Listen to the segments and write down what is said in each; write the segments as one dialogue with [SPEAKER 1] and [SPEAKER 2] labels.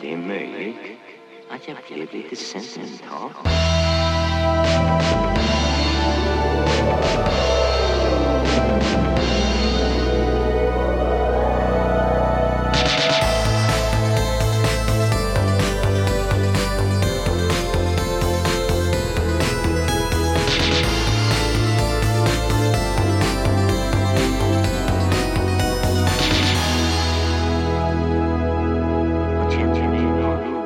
[SPEAKER 1] Det är möjligt att jag blev lite sentimental. Jag känner en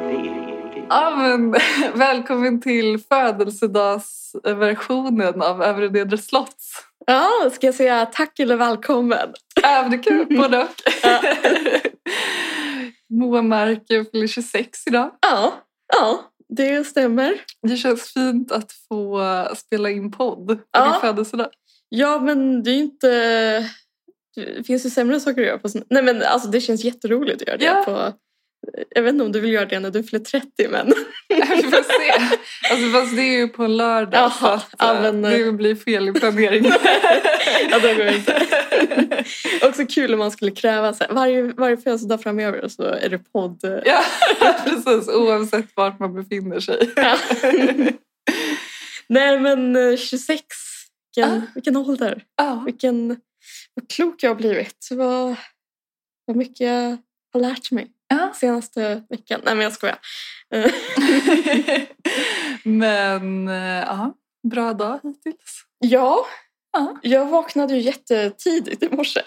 [SPEAKER 1] vilja.
[SPEAKER 2] Ja, men, välkommen till födelsedagsversionen av Övre Nedre Slotts.
[SPEAKER 3] Ja, ska jag säga tack eller välkommen?
[SPEAKER 2] Övre kul, både och.
[SPEAKER 3] Ja.
[SPEAKER 2] Moa Marker fyller 26 idag.
[SPEAKER 3] Ja, ja det stämmer.
[SPEAKER 2] Det känns fint att få spela in podd på
[SPEAKER 3] Ja.
[SPEAKER 2] din födelsedag.
[SPEAKER 3] Ja, men det är ju inte... Det finns ju sämre saker att göra på sån- Nej, men alltså det känns jätteroligt att göra det
[SPEAKER 2] Ja.
[SPEAKER 3] på... Jag vet inte om du vill göra det när du fyller 30, men...
[SPEAKER 2] Vi får se. Alltså, fast det är ju på en lördag
[SPEAKER 3] Jaha,
[SPEAKER 2] så att,
[SPEAKER 3] ja,
[SPEAKER 2] eh,
[SPEAKER 3] men, eh.
[SPEAKER 2] det blir fel i planeringen.
[SPEAKER 3] ja, det går inte. Också kul om man skulle kräva så här, varje, varje födelsedag framöver så är det podd.
[SPEAKER 2] ja, precis. Oavsett vart man befinner sig.
[SPEAKER 3] Ja. Nej, men eh, 26. Vilken,
[SPEAKER 2] Ah.
[SPEAKER 3] vilken ålder.
[SPEAKER 2] Ja.
[SPEAKER 3] Vilken, vad klok jag har blivit. Vad, vad mycket jag har lärt mig
[SPEAKER 2] Ja.
[SPEAKER 3] senaste veckan. Nej, men jag skojar.
[SPEAKER 2] Men eh, ja, bra dag hittills.
[SPEAKER 3] Ja,
[SPEAKER 2] Ja. Mm.
[SPEAKER 3] jag vaknade ju jättetidigt i morse.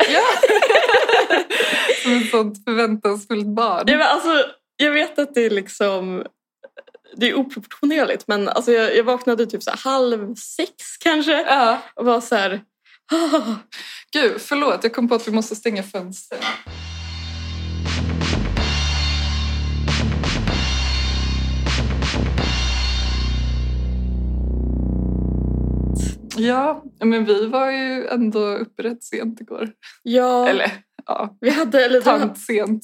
[SPEAKER 2] Som ett sånt förväntansfullt barn.
[SPEAKER 3] Jag, alltså, jag vet att det är liksom... Det är oproportionerligt, men alltså jag, jag vaknade typ så här halv sex kanske
[SPEAKER 2] Ja.
[SPEAKER 3] och var så här... "Ah."
[SPEAKER 2] Gud, förlåt. Jag kom på att vi måste stänga fönstren. Ja, men vi var ju ändå uppe rätt sent igår.
[SPEAKER 3] Ja,
[SPEAKER 2] Eller ja,
[SPEAKER 3] vi hade... Eller du,
[SPEAKER 2] tant sent.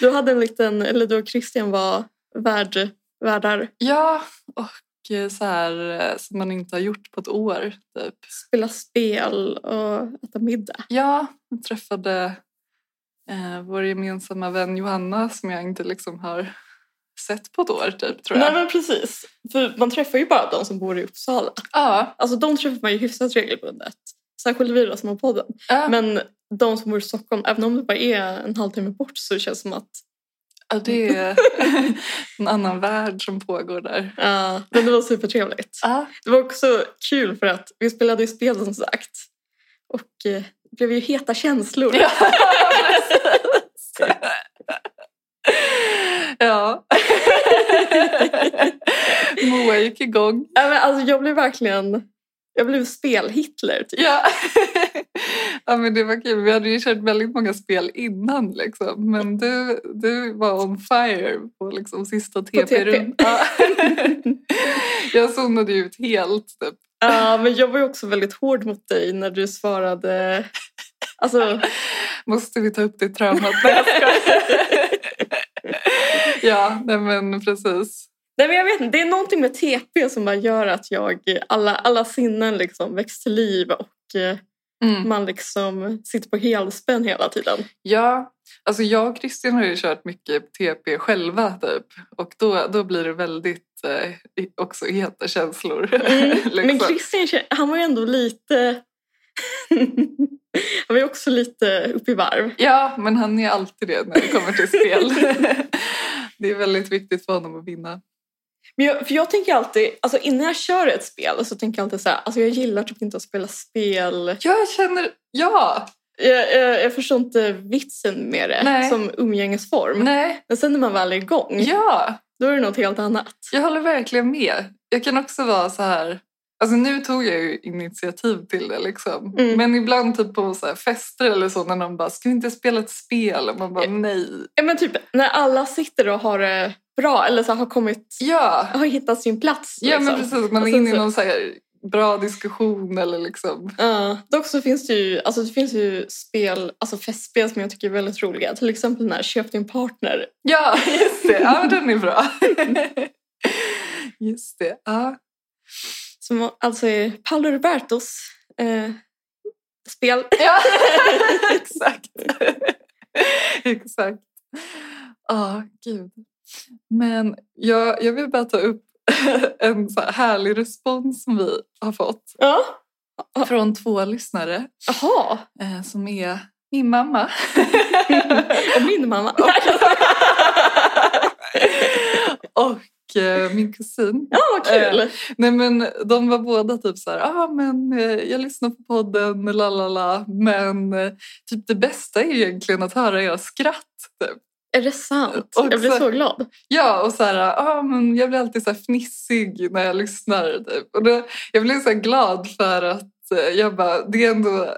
[SPEAKER 3] du hade en liten... Eller du och Christian var värd, värdar.
[SPEAKER 2] Ja, och eh, så här eh, som man inte har gjort på ett år. Typ.
[SPEAKER 3] Spela spel och äta middag.
[SPEAKER 2] Ja, jag träffade eh, vår gemensamma vän Johanna som jag inte liksom har sett på ett år typ tror jag.
[SPEAKER 3] Nej men precis. För man träffar ju bara de som bor i Uppsala.
[SPEAKER 2] Ja,
[SPEAKER 3] Alltså de träffar man ju hyfsat regelbundet. Särskilt vi då som har podden.
[SPEAKER 2] ja.
[SPEAKER 3] Men de som bor i Stockholm, även om det bara är en halvtimme bort så känns det som att...
[SPEAKER 2] Ja, det är en annan värld som pågår där.
[SPEAKER 3] Uh, men det var supertrevligt.
[SPEAKER 2] Ja,
[SPEAKER 3] Det var också kul för att vi spelade ju spel som sagt. Och eh, det blev ju heta känslor.
[SPEAKER 2] Ja. ja. Moa gick igång.
[SPEAKER 3] Ja, men alltså, jag blev verkligen... Jag blev spel-Hitler typ.
[SPEAKER 2] Ja. ja, men det var kul. Vi hade ju kört väldigt många spel innan liksom. Men du, du var on fire på liksom sista
[SPEAKER 3] TP.
[SPEAKER 2] TP-rundan. Ja. Jag zonade ut helt. Typ.
[SPEAKER 3] Ja, men jag var ju också väldigt hård mot dig när du svarade... Alltså,
[SPEAKER 2] Måste vi ta upp det traumat? Nej, jag skojar. Ja, nej men precis.
[SPEAKER 3] nej men jag vet inte, det är någonting med TP som bara gör att jag, alla, alla sinnen liksom väcks till liv och eh,
[SPEAKER 2] Mm.
[SPEAKER 3] man liksom sitter på helspänn hela tiden.
[SPEAKER 2] Ja, alltså jag och Kristin har ju kört mycket TP själva typ. Och då, då blir det väldigt eh, i- också heta känslor. liksom.
[SPEAKER 3] Men Christian, kän- han var ju ändå lite... han var ju också lite upp i varv.
[SPEAKER 2] Ja, men han är alltid det när det kommer till spel. det är väldigt viktigt för honom att vinna.
[SPEAKER 3] Men jag, för jag tänker alltid, alltså innan jag kör ett spel så tänker jag alltid så här, alltså jag gillar typ inte att spela spel.
[SPEAKER 2] Jag känner, ja!
[SPEAKER 3] Jag, jag, jag förstår inte vitsen med det
[SPEAKER 2] Nej.
[SPEAKER 3] som umgängesform.
[SPEAKER 2] Nej,
[SPEAKER 3] Men sen när man väl är igång,
[SPEAKER 2] ja!
[SPEAKER 3] då är det något helt annat.
[SPEAKER 2] Jag håller verkligen med. Jag kan också vara så här... Alltså nu tog jag ju initiativ till det liksom.
[SPEAKER 3] Mm.
[SPEAKER 2] Men ibland typ på så här fester eller så när någon bara “ska vi inte spela ett spel?” och man bara “nej”.
[SPEAKER 3] Ja, men typ när alla sitter och har det bra eller så har kommit,
[SPEAKER 2] Ja,
[SPEAKER 3] har hittat sin plats.
[SPEAKER 2] ja men
[SPEAKER 3] liksom.
[SPEAKER 2] precis. Man
[SPEAKER 3] Och
[SPEAKER 2] är
[SPEAKER 3] sen
[SPEAKER 2] inne i
[SPEAKER 3] så-
[SPEAKER 2] någon så här bra diskussion eller liksom.
[SPEAKER 3] Ja, dock så finns det ju, alltså det finns ju spel, alltså festspel som jag tycker är väldigt roliga. Till exempel den här Köp din partner.
[SPEAKER 2] Ja, just det. Ja, men den är bra. just det. Ja.
[SPEAKER 3] Som alltså är Paolo Robertos eh, spel.
[SPEAKER 2] Ja, exakt. exakt. Ja, gud. Men jag, jag vill bara ta upp en så här härlig respons som vi har fått
[SPEAKER 3] Ja.
[SPEAKER 2] från två lyssnare
[SPEAKER 3] Jaha.
[SPEAKER 2] eh, som är min mamma
[SPEAKER 3] Och min mamma.
[SPEAKER 2] och eh, min kusin.
[SPEAKER 3] Ja, vad kul.
[SPEAKER 2] Nej men de var båda typ så här, ah, men eh, jag lyssnar på podden, la la la, men eh, typ det bästa är ju egentligen att höra era skratt. Typ.
[SPEAKER 3] Är det sant?
[SPEAKER 2] Och
[SPEAKER 3] Jag blir
[SPEAKER 2] så-
[SPEAKER 3] så glad.
[SPEAKER 2] Ja, och så här, ah, men jag blir alltid så här fnissig när jag lyssnar. Typ. Och då, jag blev så här glad för att eh, jag bara, det är ändå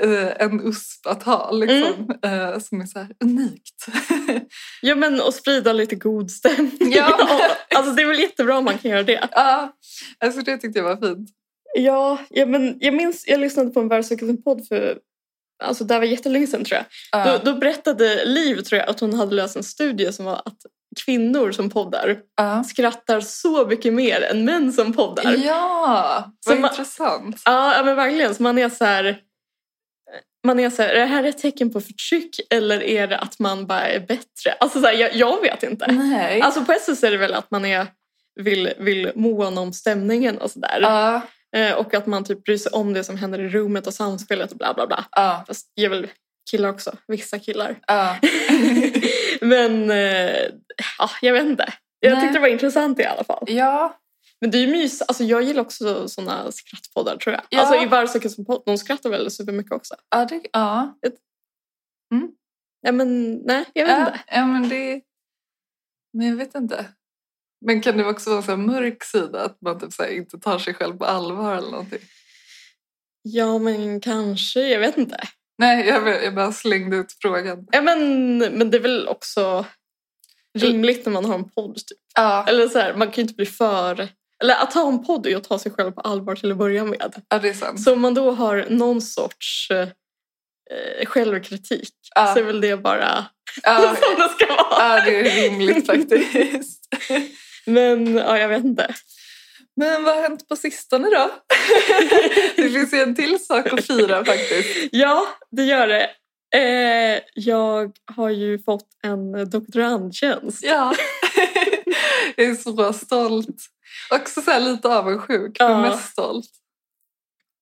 [SPEAKER 2] eh, en USP att ha liksom,
[SPEAKER 3] Mm.
[SPEAKER 2] eh, som är så här unikt.
[SPEAKER 3] Ja, men och sprida lite god stämning.
[SPEAKER 2] Ja.
[SPEAKER 3] Alltså det är väl jättebra om man kan göra det.
[SPEAKER 2] Ja, alltså det tyckte jag var fint.
[SPEAKER 3] Ja, ja men jag minns, jag lyssnade på en Världshögskolan-podd för Alltså det här var jättelänge sedan tror jag.
[SPEAKER 2] Ja,
[SPEAKER 3] Då, då berättade Liv tror jag att hon hade läst en studie som var att kvinnor som poddar
[SPEAKER 2] ja.
[SPEAKER 3] skrattar så mycket mer än män som poddar.
[SPEAKER 2] ja vad
[SPEAKER 3] Som-
[SPEAKER 2] intressant.
[SPEAKER 3] Ja, ja men verkligen. Så man är så här... Man är så här, är det här ett tecken på förtryck eller är det att man bara är bättre? Alltså så här, jag, jag vet inte.
[SPEAKER 2] Nej.
[SPEAKER 3] Alltså på ett sätt är det väl att man är, vill, vill måna om stämningen och sådär.
[SPEAKER 2] Ja,
[SPEAKER 3] Eh, och att man typ bryr sig om det som händer i rummet och samspelet och bla bla bla.
[SPEAKER 2] ja,
[SPEAKER 3] Fast det är väl killar också, vissa killar.
[SPEAKER 2] ja.
[SPEAKER 3] Men eh, ja, jag vet inte. Jag
[SPEAKER 2] Nej.
[SPEAKER 3] tyckte det var intressant i alla fall.
[SPEAKER 2] Ja,
[SPEAKER 3] Men det är ju mys. Alltså jag gillar också såna skrattpoddar tror jag.
[SPEAKER 2] Ja.
[SPEAKER 3] Alltså i Varvsöken som podd, de skrattar väl supermycket också.
[SPEAKER 2] ja, det, ja.
[SPEAKER 3] Ja men nej, jag vet
[SPEAKER 2] Ja,
[SPEAKER 3] inte.
[SPEAKER 2] ja, men det... Men jag vet inte. Men kan det också vara en sån här mörk sida? Att man typ så här inte tar sig själv på allvar eller någonting?
[SPEAKER 3] Ja men kanske, jag vet inte.
[SPEAKER 2] Nej, jag, bara- jag bara slängde ut frågan.
[SPEAKER 3] Ja men, men det är väl också rimligt när man har en podd typ.
[SPEAKER 2] Ja,
[SPEAKER 3] Eller så här, man kan ju inte bli för... Eller att ha en podd är ju att ta sig själv på allvar till att börja med.
[SPEAKER 2] ja det är sant.
[SPEAKER 3] Så om man då har någon sorts eh, självkritik
[SPEAKER 2] Ja.
[SPEAKER 3] så är väl det bara
[SPEAKER 2] Ja,
[SPEAKER 3] som det ska vara.
[SPEAKER 2] ja, det är rimligt faktiskt.
[SPEAKER 3] Men ja, jag vet inte.
[SPEAKER 2] Men vad har hänt på sistone då? Det finns ju en till sak att fira faktiskt.
[SPEAKER 3] Ja, det gör det. Eh, jag har ju fått en doktorandtjänst.
[SPEAKER 2] Ja. Jag är så stolt. Också så här lite avundsjuk, men
[SPEAKER 3] Ja.
[SPEAKER 2] mest stolt.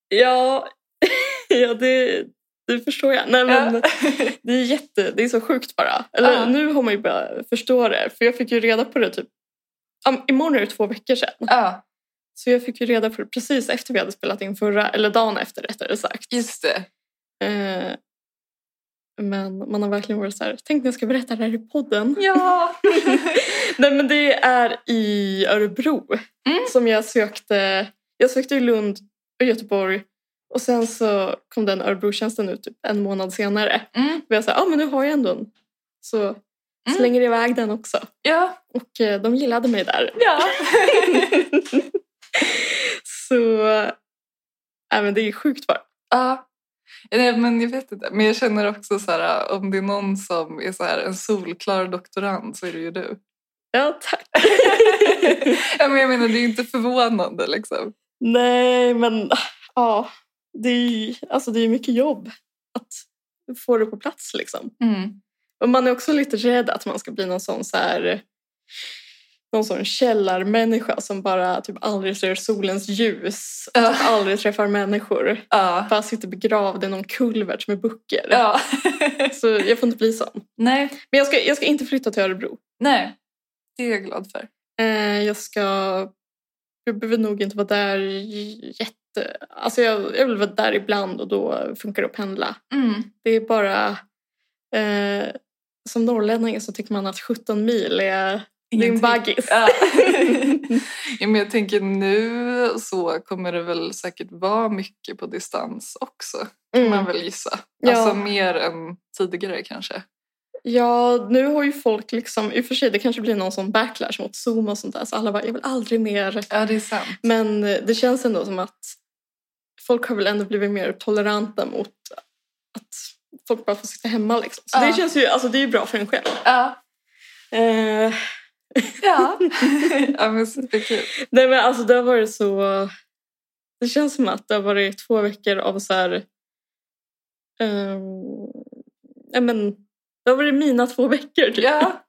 [SPEAKER 3] Ja, ja det, det förstår jag. Nej, men
[SPEAKER 2] Ja.
[SPEAKER 3] det, är jätte, det är så sjukt bara. Eller
[SPEAKER 2] Ja.
[SPEAKER 3] nu har man ju börjat förstå det. För jag fick ju reda på det typ... ja, Imorgon är det två veckor sedan.
[SPEAKER 2] Ja,
[SPEAKER 3] Så jag fick ju reda på det precis efter vi hade spelat in förra, eller dagen efter rättare sagt.
[SPEAKER 2] just det.
[SPEAKER 3] Eh, men man har verkligen varit så här, tänk när jag ska berätta det här i podden.
[SPEAKER 2] Ja!
[SPEAKER 3] Nej men det är i Örebro
[SPEAKER 2] Mm.
[SPEAKER 3] som jag sökte. Jag sökte i Lund och Göteborg och sen så kom den Örebro-tjänsten ut typ en månad senare.
[SPEAKER 2] Mm,
[SPEAKER 3] Och jag sa, ja ah, men nu har jag ändå en. Så slänger iväg den också.
[SPEAKER 2] ja,
[SPEAKER 3] Och eh, de gillade mig där.
[SPEAKER 2] ja.
[SPEAKER 3] så, äh, men det är sjukt bara.
[SPEAKER 2] ja. Nej, men jag vet inte. Men jag känner också så här, om det är någon som är så här, en solklar doktorand så är det ju du.
[SPEAKER 3] Ja tack.
[SPEAKER 2] ja, men jag menar, det är ju inte förvånande liksom.
[SPEAKER 3] Nej men ja, det är ju alltså, det är ju mycket jobb att få det på plats liksom.
[SPEAKER 2] Mm.
[SPEAKER 3] Och man är också lite rädd att man ska bli någon sån så här någon sån källarmänniska som bara typ aldrig ser solens ljus,
[SPEAKER 2] Ja.
[SPEAKER 3] typ aldrig träffar människor,
[SPEAKER 2] Ja.
[SPEAKER 3] bara sitter begravd i någon kulvert med böcker.
[SPEAKER 2] ja.
[SPEAKER 3] Så jag får inte bli sån.
[SPEAKER 2] Nej.
[SPEAKER 3] Men jag ska, jag ska inte flytta till Örebro.
[SPEAKER 2] Nej, det är jag glad för.
[SPEAKER 3] Eh, jag ska... Jag behöver nog inte vara där jätte... Alltså jag, jag vill vara där ibland och då funkar det att pendla.
[SPEAKER 2] Mm.
[SPEAKER 3] Det är bara... Eh, som norrlänning så tycker man att 17 mil är... Det är en baggis.
[SPEAKER 2] Ja. ja, men jag tänker nu så kommer det väl säkert vara mycket på distans också. kan man
[SPEAKER 3] Mm.
[SPEAKER 2] väl gissa.
[SPEAKER 3] Ja.
[SPEAKER 2] Alltså mer än tidigare kanske.
[SPEAKER 3] Ja, nu har ju folk liksom... I och för sig, det kanske blir någon sån backlash mot Zoom och sånt där. Så alla bara, jag vill aldrig mer...
[SPEAKER 2] Ja, det är sant.
[SPEAKER 3] Men eh, det känns ändå som att folk har väl ändå blivit mer toleranta mot att folk bara får sitta hemma liksom. Så
[SPEAKER 2] Ja.
[SPEAKER 3] det känns ju, alltså det är ju bra för en själv.
[SPEAKER 2] Ja.
[SPEAKER 3] Eh,
[SPEAKER 2] Ja. ja, men superkul.
[SPEAKER 3] nej men alltså det har varit så, det känns som att det har varit två veckor av så här, ehm, nej men det har varit mina två veckor typ.
[SPEAKER 2] Ja.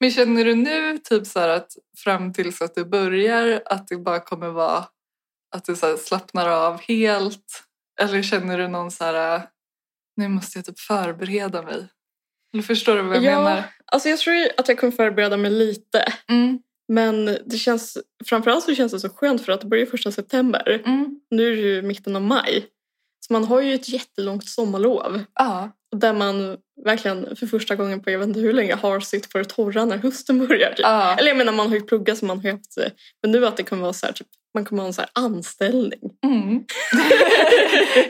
[SPEAKER 2] Men känner du nu typ så här att fram tills att du börjar att det bara kommer vara att du så här slappnar av helt? Eller känner du någon så här, nu måste jag typ förbereda mig? Eller förstår du vad jag
[SPEAKER 3] ja,
[SPEAKER 2] menar?
[SPEAKER 3] Alltså jag tror ju att jag kommer förbereda mig lite.
[SPEAKER 2] Mm,
[SPEAKER 3] Men det känns, framförallt så känns det så skönt för att det börjar ju första september.
[SPEAKER 2] mm,
[SPEAKER 3] Nu är det ju mitten av maj. Så man har ju ett jättelångt sommarlov.
[SPEAKER 2] ja.
[SPEAKER 3] Där man verkligen för första gången på jag vet inte hur länge har sitt på det torra när hösten börjar. Typ.
[SPEAKER 2] ja.
[SPEAKER 3] Eller jag menar man har ju pluggat så man har ju haft eh, Men nu att det kommer vara så här, typ, man kommer ha en så här anställning.
[SPEAKER 2] Mm.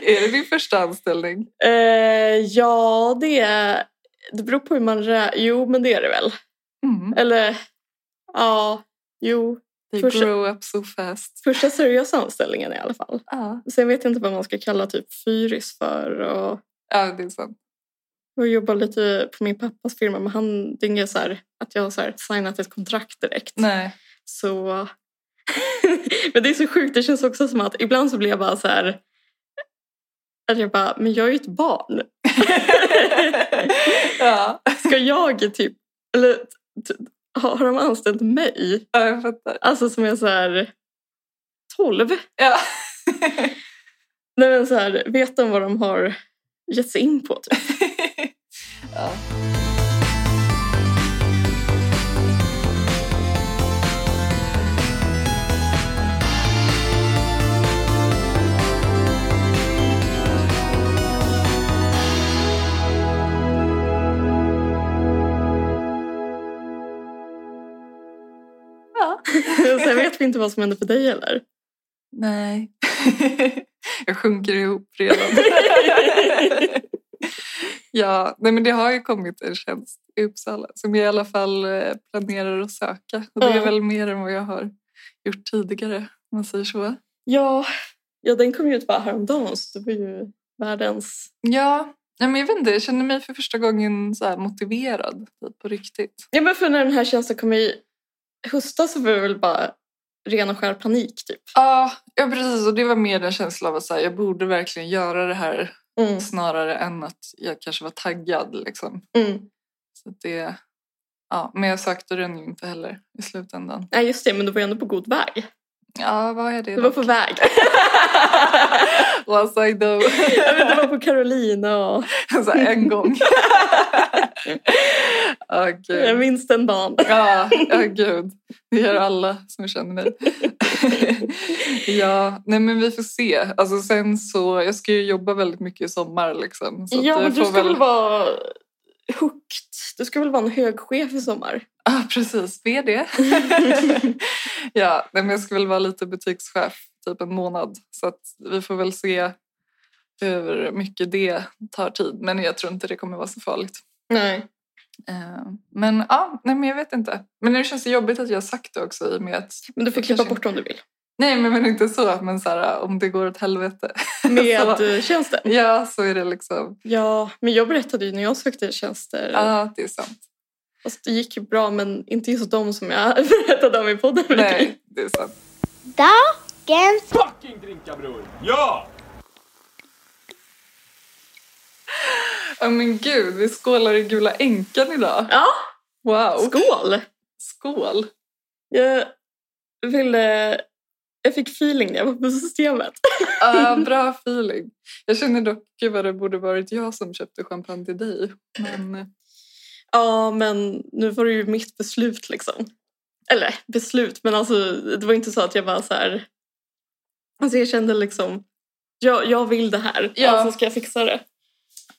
[SPEAKER 2] är det din första anställning?
[SPEAKER 3] Eh, ja, det, är- det beror på hur man rä- Jo, men det är det väl.
[SPEAKER 2] Mm.
[SPEAKER 3] Eller ja, jo.
[SPEAKER 2] They
[SPEAKER 3] Första-
[SPEAKER 2] grow up so fast.
[SPEAKER 3] Första seriösa anställningen i alla fall.
[SPEAKER 2] Ja,
[SPEAKER 3] Sen vet jag inte vad man ska kalla typ fyris för. Och
[SPEAKER 2] ja det är sant.
[SPEAKER 3] jag jobbar lite på min pappas firma men han, det är inget så här att jag har så här signat ett kontrakt direkt.
[SPEAKER 2] Nej.
[SPEAKER 3] Så... men det är så sjukt, det känns också som att ibland så blir jag bara så här... Att jag bara, men jag är ju ett barn.
[SPEAKER 2] ja.
[SPEAKER 3] Ska jag typ... Eller t- har har de anställt mig?
[SPEAKER 2] ja, jag fattar.
[SPEAKER 3] Alltså som är så här... 12?
[SPEAKER 2] Ja.
[SPEAKER 3] Nej men så här, vet de vad de har gett sig in på? Typ?
[SPEAKER 2] ja. Ja.
[SPEAKER 3] Sen vet vi inte vad som händer för dig heller.
[SPEAKER 2] Nej. jag sjunker ihop redan. ja, nej men det har ju kommit en tjänst i Uppsala som jag i alla fall eh, planerar att söka. Och det är
[SPEAKER 3] Ja.
[SPEAKER 2] väl mer än vad jag har gjort tidigare, om man säger så.
[SPEAKER 3] Ja, ja den kom ju ut bara häromdagen så det var ju världens...
[SPEAKER 2] Ja, nej men jag vet inte, jag känner mig för första gången så här motiverad typ, på riktigt.
[SPEAKER 3] Ja men för när den här tjänsten kom i höstas så var det väl bara ren och skär panik typ.
[SPEAKER 2] Ja, ja, precis. Och det var mer den känslan av att så här, jag borde verkligen göra det här
[SPEAKER 3] Mm.
[SPEAKER 2] snarare än att jag kanske var taggad. Liksom.
[SPEAKER 3] Mm.
[SPEAKER 2] Så att det, ja, men jag sökte den ju inte heller i slutändan.
[SPEAKER 3] Nej just det, men du var ju ändå på god väg.
[SPEAKER 2] Ja, vad är det
[SPEAKER 3] Du var
[SPEAKER 2] då?
[SPEAKER 3] på väg.
[SPEAKER 2] Was I do?
[SPEAKER 3] Ja, men du var på Carolina och...
[SPEAKER 2] Så här, Alltså, en gång. Åh
[SPEAKER 3] Jag
[SPEAKER 2] gud.
[SPEAKER 3] minns den dagen.
[SPEAKER 2] Ja, ja, gud. Det gör alla som känner mig. ja, nej men vi får se. Alltså sen så, jag ska ju jobba väldigt mycket i sommar liksom. Så att
[SPEAKER 3] Ja
[SPEAKER 2] jag
[SPEAKER 3] men du
[SPEAKER 2] får
[SPEAKER 3] ska väl vara hooked? Du ska väl vara en hög chef i sommar?
[SPEAKER 2] Ja, precis. Det är det. ja, nej, men jag ska väl vara lite butikschef typ en månad. Så att vi får väl se hur mycket det tar tid. Men jag tror inte det kommer vara så farligt.
[SPEAKER 3] Nej.
[SPEAKER 2] Eh, Men ja, nej, men jag vet inte. Men det känns det jobbigt att jag har sagt det också i och med att...
[SPEAKER 3] Men du får
[SPEAKER 2] Det
[SPEAKER 3] klippa
[SPEAKER 2] kanske-
[SPEAKER 3] bort om du vill.
[SPEAKER 2] Nej, men, men inte så. Men så här, om det går åt helvete.
[SPEAKER 3] Med
[SPEAKER 2] Så-
[SPEAKER 3] eh, tjänsten.
[SPEAKER 2] ja, så är det liksom.
[SPEAKER 3] Ja, men jag berättade ju när jag sökte tjänster.
[SPEAKER 2] Ja, det är sant.
[SPEAKER 3] Alltså, det gick ju bra men inte just de som jag berättade om i podden.
[SPEAKER 2] Nej, det är sant.
[SPEAKER 4] Dagens
[SPEAKER 5] fucking drinka bror! Ja!
[SPEAKER 2] Ja, men gud, vi skålar i Gula Änkan idag.
[SPEAKER 3] Ja,
[SPEAKER 2] Wow.
[SPEAKER 3] skål!
[SPEAKER 2] Skål.
[SPEAKER 3] Jag ville... Jag fick feeling när jag var på systemet.
[SPEAKER 2] Ja, bra feeling. Jag känner dock gud vad det borde varit jag som köpte champagne till dig. Men
[SPEAKER 3] Ja, men nu var det ju mitt beslut liksom. Eller beslut, men alltså det var inte så att jag bara så här... Alltså jag kände liksom, jag, jag vill det här,
[SPEAKER 2] Ja.
[SPEAKER 3] alltså ska jag fixa det.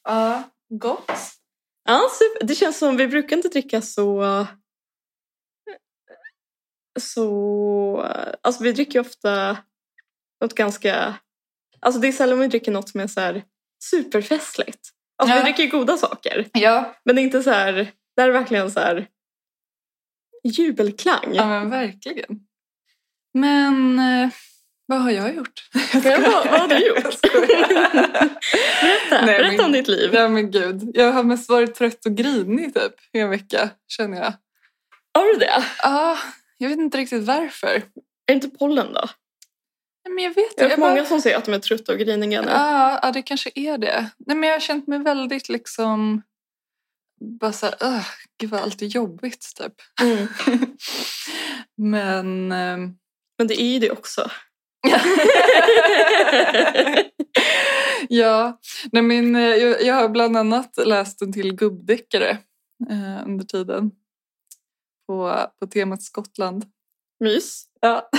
[SPEAKER 2] ja, gott.
[SPEAKER 3] Ja, super. Det känns som vi brukar inte dricka så... Så... Alltså vi dricker ju ofta något ganska... Alltså det är sällan vi dricker något som är så här superfestligt. Alltså
[SPEAKER 2] Ja.
[SPEAKER 3] vi dricker ju goda saker.
[SPEAKER 2] Ja,
[SPEAKER 3] Men det är inte så här... Det här är verkligen så här... Jubelklang.
[SPEAKER 2] ja men verkligen. Men eh, vad har jag gjort? Jag
[SPEAKER 3] Men
[SPEAKER 2] skojar.
[SPEAKER 3] vad, vad har du
[SPEAKER 2] Jag
[SPEAKER 3] gjort?
[SPEAKER 2] skojar.
[SPEAKER 3] berätta,
[SPEAKER 2] Nej,
[SPEAKER 3] berätta
[SPEAKER 2] men-
[SPEAKER 3] om ditt liv.
[SPEAKER 2] Nej men gud, jag har mest varit trött och grinig typ i en vecka känner jag.
[SPEAKER 3] Har du det?
[SPEAKER 2] Ja, jag vet inte riktigt varför.
[SPEAKER 3] Är det inte pollen då?
[SPEAKER 2] Nej, men jag vet inte.
[SPEAKER 3] Jag har
[SPEAKER 2] jag bara-
[SPEAKER 3] många som säger att de är trötta och griniga nu.
[SPEAKER 2] Ja, ja, det kanske är det. Nej, men jag har känt mig väldigt liksom... Bara så här, "Ugh, gud vad allt är jobbigt typ.
[SPEAKER 3] Mm.
[SPEAKER 2] Men... ehm,
[SPEAKER 3] Men det är ju det också.
[SPEAKER 2] ja, nej men, eh, jag, jag har bland annat läst en till gubbdeckare eh, under tiden. På, på temat Skottland.
[SPEAKER 3] Mys.
[SPEAKER 2] Ja.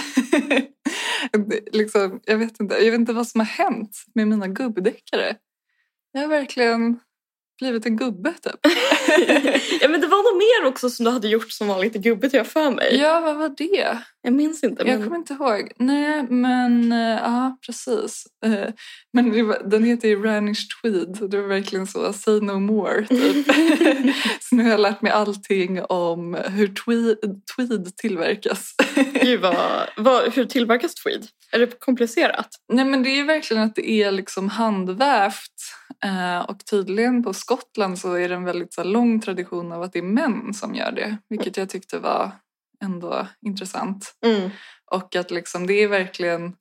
[SPEAKER 2] liksom, jag, vet inte, jag vet inte vad som har hänt med mina gubbdeckare. Jag har verkligen blivit en gubbe typ.
[SPEAKER 3] ja, men det var något mer också som du hade gjort som var lite gubbigt har jag för mig.
[SPEAKER 2] ja, vad var det?
[SPEAKER 3] Jag minns inte. Men...
[SPEAKER 2] Jag kommer inte ihåg. Nej, men eh, ja, precis. Eh, Men det var, den heter ju Ranish Tweed. och Det var verkligen så, say no more. Typ. så nu har jag lärt mig allting om hur tweed, tweed tillverkas.
[SPEAKER 3] Gud, vad, vad, hur tillverkas tweed? Är det komplicerat?
[SPEAKER 2] Nej, men det är ju verkligen att det är liksom handvävt. Eh, Och tydligen på Skottland så är det en väldigt så här, lång tradition av att det är män som gör det. Vilket jag tyckte var ändå intressant.
[SPEAKER 3] Mm.
[SPEAKER 2] Och att liksom, det är verkligen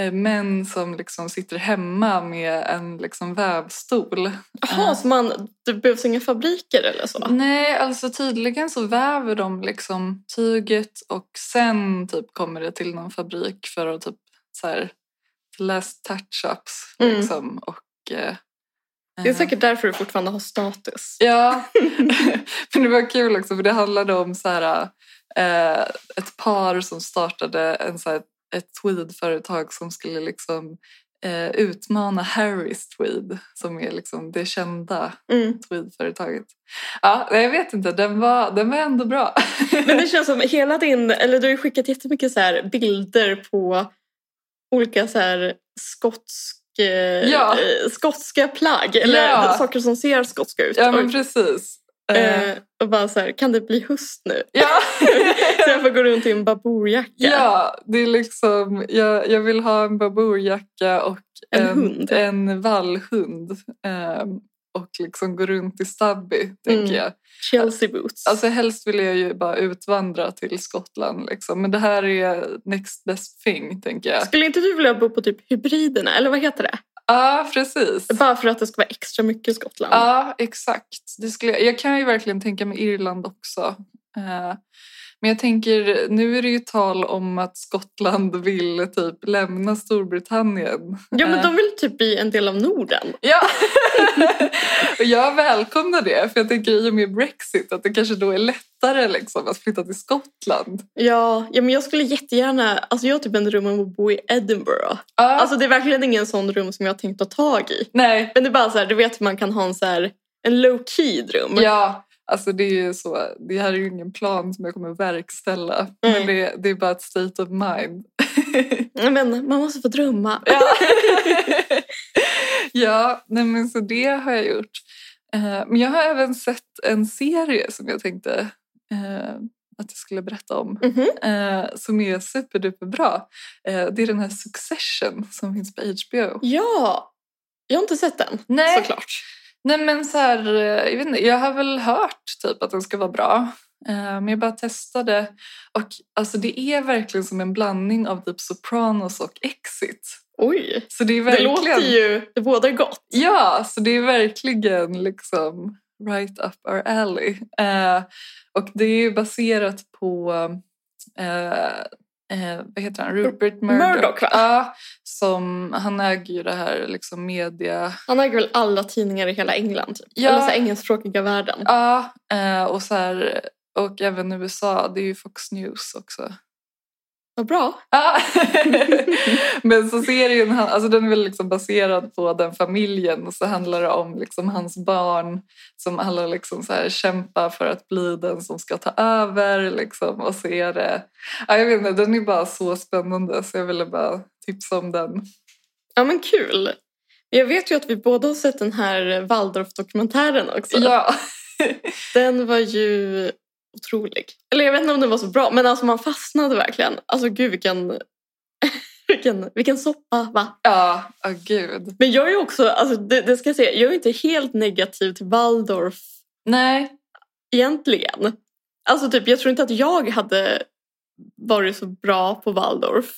[SPEAKER 2] eh, män som liksom sitter hemma med en liksom vävstol.
[SPEAKER 3] Jaha,
[SPEAKER 2] Eh,
[SPEAKER 3] så man, det behövs inga fabriker eller så?
[SPEAKER 2] Nej, alltså tydligen så väver de liksom tyget och sen typ kommer det till någon fabrik för att typ så här last touch-ups
[SPEAKER 3] Mm.
[SPEAKER 2] liksom. Och, eh,
[SPEAKER 3] Det är
[SPEAKER 2] eh,
[SPEAKER 3] säkert därför du fortfarande har status.
[SPEAKER 2] Ja, men det var kul också för det handlade om så här, eh, ett par som startade en, så här, ett tweedföretag som skulle liksom, eh, utmana Harry's Tweed som är liksom det kända
[SPEAKER 3] Mm.
[SPEAKER 2] tweedföretaget. Ja, nej, jag vet inte, den var, den var ändå bra.
[SPEAKER 3] Men det känns som hela din, eller du har ju skickat jättemycket så här bilder på olika så här skotsk, eh,
[SPEAKER 2] Ja.
[SPEAKER 3] eh, skotska plagg. Eller
[SPEAKER 2] Ja.
[SPEAKER 3] saker som ser skotska ut.
[SPEAKER 2] Ja, men
[SPEAKER 3] och,
[SPEAKER 2] precis. Eh,
[SPEAKER 3] eh, och bara så här, kan det bli höst nu?
[SPEAKER 2] ja.
[SPEAKER 3] Så jag får gå runt i en baboorjacka.
[SPEAKER 2] ja, det är liksom, jag, jag vill ha en baboorjacka och
[SPEAKER 3] En hund.
[SPEAKER 2] en vallhund ehm, och liksom gå runt i stabby, tänker
[SPEAKER 3] Mm.
[SPEAKER 2] jag.
[SPEAKER 3] Chelsea boots.
[SPEAKER 2] Alltså helst vill jag ju bara utvandra till Skottland liksom. Men det här är next best thing, tänker jag.
[SPEAKER 3] Skulle inte du vilja bo på typ hybriderna? Eller vad heter det?
[SPEAKER 2] Ja, precis. Ja,
[SPEAKER 3] Bara för att det ska vara extra mycket Skottland.
[SPEAKER 2] exakt. Det skulle jag, jag kan ju verkligen tänka mig Irland också. Eh, men jag tänker, nu är det ju tal om att Skottland vill typ lämna Storbritannien.
[SPEAKER 3] Ja, men
[SPEAKER 2] Eh.
[SPEAKER 3] de vill typ bli en del av Norden.
[SPEAKER 2] Ja, och jag välkomnar det. För jag tänker i och med Brexit att det kanske då är lättare liksom, att flytta till Skottland.
[SPEAKER 3] Ja, ja men jag skulle jättegärna... Alltså jag har typ en dröm om att bo i Edinburgh.
[SPEAKER 2] Ja,
[SPEAKER 3] Alltså det är verkligen ingen sån rum som jag har tänkt ta tag i.
[SPEAKER 2] nej.
[SPEAKER 3] Men det är bara så här, du vet hur man kan ha en så här... En low key dröm.
[SPEAKER 2] Ja, alltså det är ju så. Det här är ju ingen plan som jag kommer verkställa. Men det, det är bara ett state of mind.
[SPEAKER 3] Men man måste få drömma.
[SPEAKER 2] Ja, ja nej men så det har jag gjort. Eh, Men jag har även sett en serie som jag tänkte eh, att jag skulle berätta om.
[SPEAKER 3] Mhm.
[SPEAKER 2] eh, som är superduperbra. Eh, det är den här Succession som finns på HBO.
[SPEAKER 3] Ja! Jag har inte sett den,
[SPEAKER 2] Nej.
[SPEAKER 3] såklart.
[SPEAKER 2] Nej men så här, eh, jag, vet inte, jag har väl hört typ att den ska vara bra. Eh, Men jag bara testade och alltså det är verkligen som en blandning av typ Sopranos och Exit.
[SPEAKER 3] Oj!
[SPEAKER 2] Så det är
[SPEAKER 3] Det
[SPEAKER 2] verkligen...
[SPEAKER 3] låter ju... Det bådar gott.
[SPEAKER 2] Ja, så det är verkligen liksom right up our alley. Eh, och det är ju baserat på, eh, eh, vad heter han, Rupert Murdoch.
[SPEAKER 3] Murdoch, va?
[SPEAKER 2] Ja, som, han äger ju det här liksom media...
[SPEAKER 3] Han äger väl alla tidningar i hela England? Typ.
[SPEAKER 2] Ja.
[SPEAKER 3] Eller så här, engelskspråkiga världen.
[SPEAKER 2] Ja, eh, och så här, och även USA, det är ju Fox News också.
[SPEAKER 3] Vad bra.
[SPEAKER 2] Ja. Men så serien, han- alltså den är väl liksom baserad på den familjen och så handlar det om liksom hans barn som alla liksom så här kämpar för att bli den som ska ta över. Liksom, och så är det, ja, jag vet inte, den är bara så spännande så jag ville bara tipsa om den.
[SPEAKER 3] Ja men kul. Jag vet ju att vi båda har sett den här Waldorf-dokumentären också.
[SPEAKER 2] Ja,
[SPEAKER 3] Den var ju otrolig. Eller jag vet inte om den var så bra, men alltså man fastnade verkligen. Alltså gud vilken, vilken, vilken soppa va?
[SPEAKER 2] ja, oh, gud.
[SPEAKER 3] Men jag är ju också, alltså det, det ska jag säga, jag är inte helt negativ till Waldorf
[SPEAKER 2] Nej,
[SPEAKER 3] egentligen. Alltså typ, jag tror inte att jag hade varit så bra på Waldorf.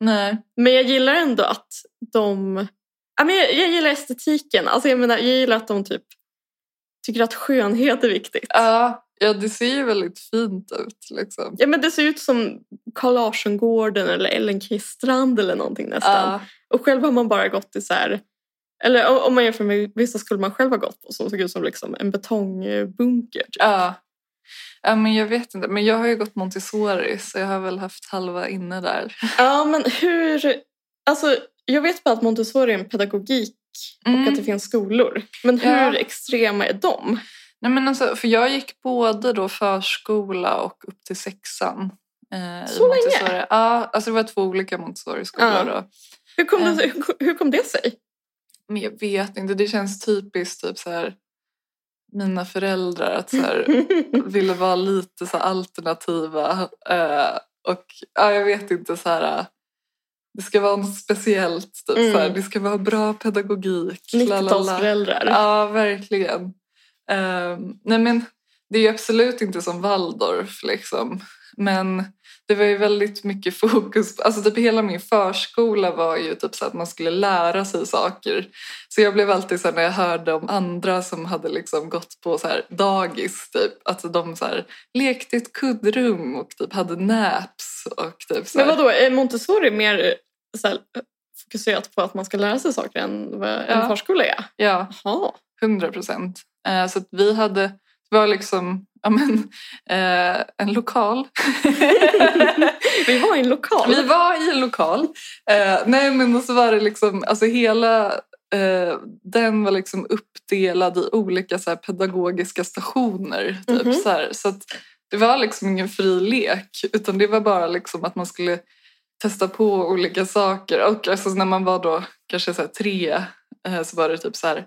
[SPEAKER 2] nej.
[SPEAKER 3] Men jag gillar ändå att de... Ja, men jag, jag gillar estetiken. Alltså jag, menar, jag gillar att de typ tycker att skönhet är viktigt.
[SPEAKER 2] Ja, ja, det ser ju väldigt fint ut liksom.
[SPEAKER 3] Ja, men det ser ut som Carl Larsson-gården eller Ellen K. Strand eller någonting nästan.
[SPEAKER 2] Ja,
[SPEAKER 3] Och själv har man bara gått i så här... Eller o- om man jämför med vissa skulle man själv ha gått på som såg ut som liksom en betongbunker. typ.
[SPEAKER 2] ja. ja, men jag vet inte. Men jag har ju gått Montessori så jag har väl haft halva inne där.
[SPEAKER 3] Ja, men hur... Alltså, jag vet bara att Montessori är en pedagogik och
[SPEAKER 2] Mm.
[SPEAKER 3] att det finns skolor. Men hur
[SPEAKER 2] Ja.
[SPEAKER 3] extrema är de?
[SPEAKER 2] Nej, men alltså, för jag gick både då förskola och upp till sexan. Eh, i
[SPEAKER 3] Så länge?
[SPEAKER 2] Montessori. Ja, alltså det var två olika Montessori-skolor
[SPEAKER 3] Ja.
[SPEAKER 2] då.
[SPEAKER 3] Hur kom,
[SPEAKER 2] Eh.
[SPEAKER 3] det, hur- hur kom det sig?
[SPEAKER 2] Men jag vet inte, det känns typiskt typ så här mina föräldrar att så här, ville vara lite så här alternativa eh, och ja, jag vet inte så här eh, det ska vara något speciellt typ
[SPEAKER 3] Mm.
[SPEAKER 2] så här, det ska vara bra pedagogik. la, la, la.
[SPEAKER 3] 90-talsföräldrar.
[SPEAKER 2] Ja, verkligen. Ehm, nej men det är ju absolut inte som Waldorf liksom. Men det var ju väldigt mycket fokus, alltså typ hela min förskola var ju typ så att man skulle lära sig saker. Så jag blev alltid så här när jag hörde om andra som hade liksom gått på så här dagis typ, att de så här lekte i ett kuddrum och typ hade naps och typ så här.
[SPEAKER 3] Men vadå, är Montessori mer eh, så här, fokuserat på att man ska lära sig saker än vad
[SPEAKER 2] Ja.
[SPEAKER 3] en förskola är?
[SPEAKER 2] Ja.
[SPEAKER 3] Jaha.
[SPEAKER 2] 100 procent. Eh, så att vi hade, det var liksom ja, men, eh, en lokal.
[SPEAKER 3] Vi var i en lokal.
[SPEAKER 2] vi var i en lokal. Eh, nej men och så var det liksom, alltså hela eh, den var liksom uppdelad i olika så här, pedagogiska stationer. Typ,
[SPEAKER 3] Mhm.
[SPEAKER 2] så, här, så att det var liksom ingen fri lek utan det var bara liksom att man skulle testa på olika saker. Och alltså när man var då kanske så här tre eh, så var det typ så här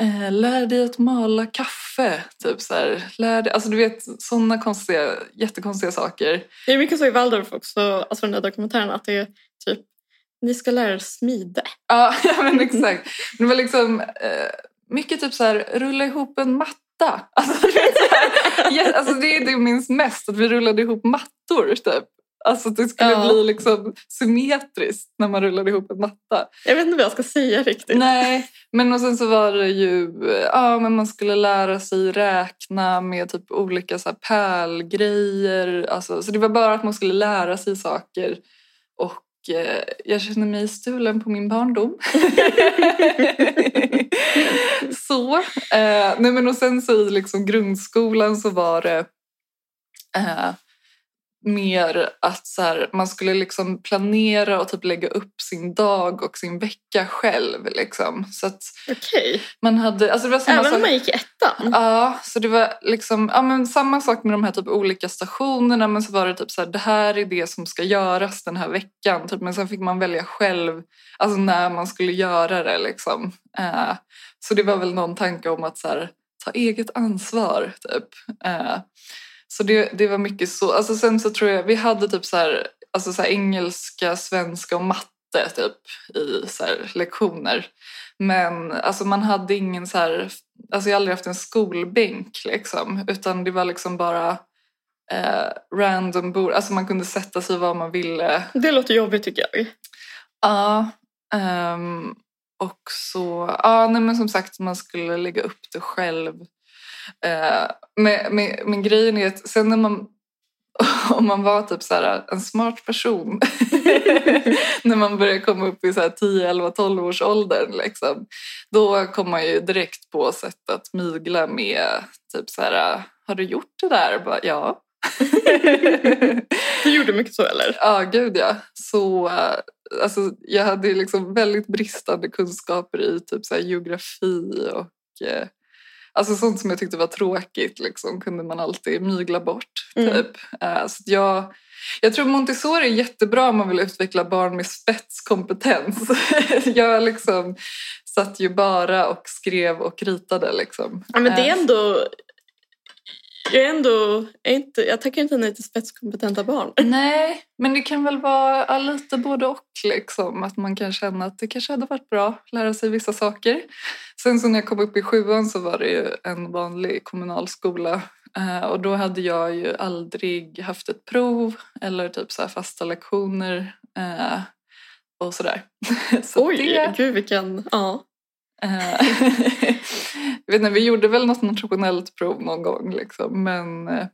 [SPEAKER 2] eh, Lär dig att mala kaffe. Typ så här, lär dig, alltså du vet sådana konstiga, jättekonstiga saker.
[SPEAKER 3] Det är mycket så i Waldorf också, alltså den där dokumentären, att det är typ ni ska lära er smide.
[SPEAKER 2] Ja, ja, men exakt. Det var liksom eh, mycket typ så här, rulla ihop en matta. Alltså, du vet, så här, ja, alltså det är det jag minns mest, att vi rullade ihop mattor typ. Alltså att det skulle
[SPEAKER 3] Ja.
[SPEAKER 2] bli liksom symmetriskt när man rullade ihop en matta.
[SPEAKER 3] Jag vet inte vad jag ska säga riktigt.
[SPEAKER 2] Nej, men och sen så var det ju, eh, ja men man skulle lära sig räkna med typ olika så här pärlgrejer. Alltså, så det var bara att man skulle lära sig saker. Och eh, jag känner mig stulen på min barndom. så. Eh, nej men och sen så i liksom grundskolan så var det eh, mer att så här, man skulle liksom planera och typ lägga upp sin dag och sin vecka själv. Liksom. Så att
[SPEAKER 3] Okej.
[SPEAKER 2] man hade... Alltså det var samma
[SPEAKER 3] Även om
[SPEAKER 2] sak-
[SPEAKER 3] man gick i ettan?
[SPEAKER 2] Ja, så det var liksom, ja, men samma sak med de här typ olika stationerna. Men så var det typ så här, det här är det som ska göras den här veckan. Typ. Men sen fick man välja själv alltså när man skulle göra det. Liksom. Eh, så det var väl någon tanke om att så här, ta eget ansvar. Typ. Eh, så det, det var mycket så. Alltså, sen så tror jag, vi hade typ så här, alltså så här, engelska, svenska och matte typ, i så här, lektioner. Men alltså, man hade ingen så här alltså jag har aldrig haft en skolbänk liksom, utan det var liksom bara eh, random bord. Alltså man kunde sätta sig var man ville.
[SPEAKER 3] Det låter jobbigt tycker jag.
[SPEAKER 2] Ja, ehm, och så, ja nej men som sagt man skulle lägga upp det själv. Eh, men, men, men grejen är att sen när man, om man var typ så här, en smart person när man börjar komma upp i så här 10, 11, 12 års åldern liksom, då kommer man ju direkt på sätt att mygla med typ så här, har du gjort det där? Bara, ja.
[SPEAKER 3] Du gjorde mycket så eller?
[SPEAKER 2] Ja, gud ja. Så, eh, alltså, jag hade ju liksom väldigt bristande kunskaper i typ så här, geografi och eh, alltså, sånt som jag tyckte var tråkigt liksom, kunde man alltid mygla bort.
[SPEAKER 3] Mm.
[SPEAKER 2] Typ. Eh, så att jag, jag tror Montessori är jättebra om man vill utveckla barn med spetskompetens. jag liksom satt ju bara och skrev och ritade. Liksom.
[SPEAKER 3] Ja, men det
[SPEAKER 2] Eh,
[SPEAKER 3] är ändå... Jag är ändå... Jag, är inte, jag tackar inte nej till spetskompetenta barn.
[SPEAKER 2] Nej, men det kan väl vara ja, lite både och. Liksom, att man kan känna att det kanske hade varit bra att lära sig vissa saker. Sen så när jag kom upp i sjuan så var det ju en vanlig kommunalskola. eh, Och då hade jag ju aldrig haft ett prov eller typ så här fasta lektioner eh, och sådär. Så
[SPEAKER 3] Oj,
[SPEAKER 2] det-
[SPEAKER 3] gud vilken... Ja.
[SPEAKER 2] Eh, Jag vet inte, vi gjorde väl något nationellt prov någon gång liksom. Men eh,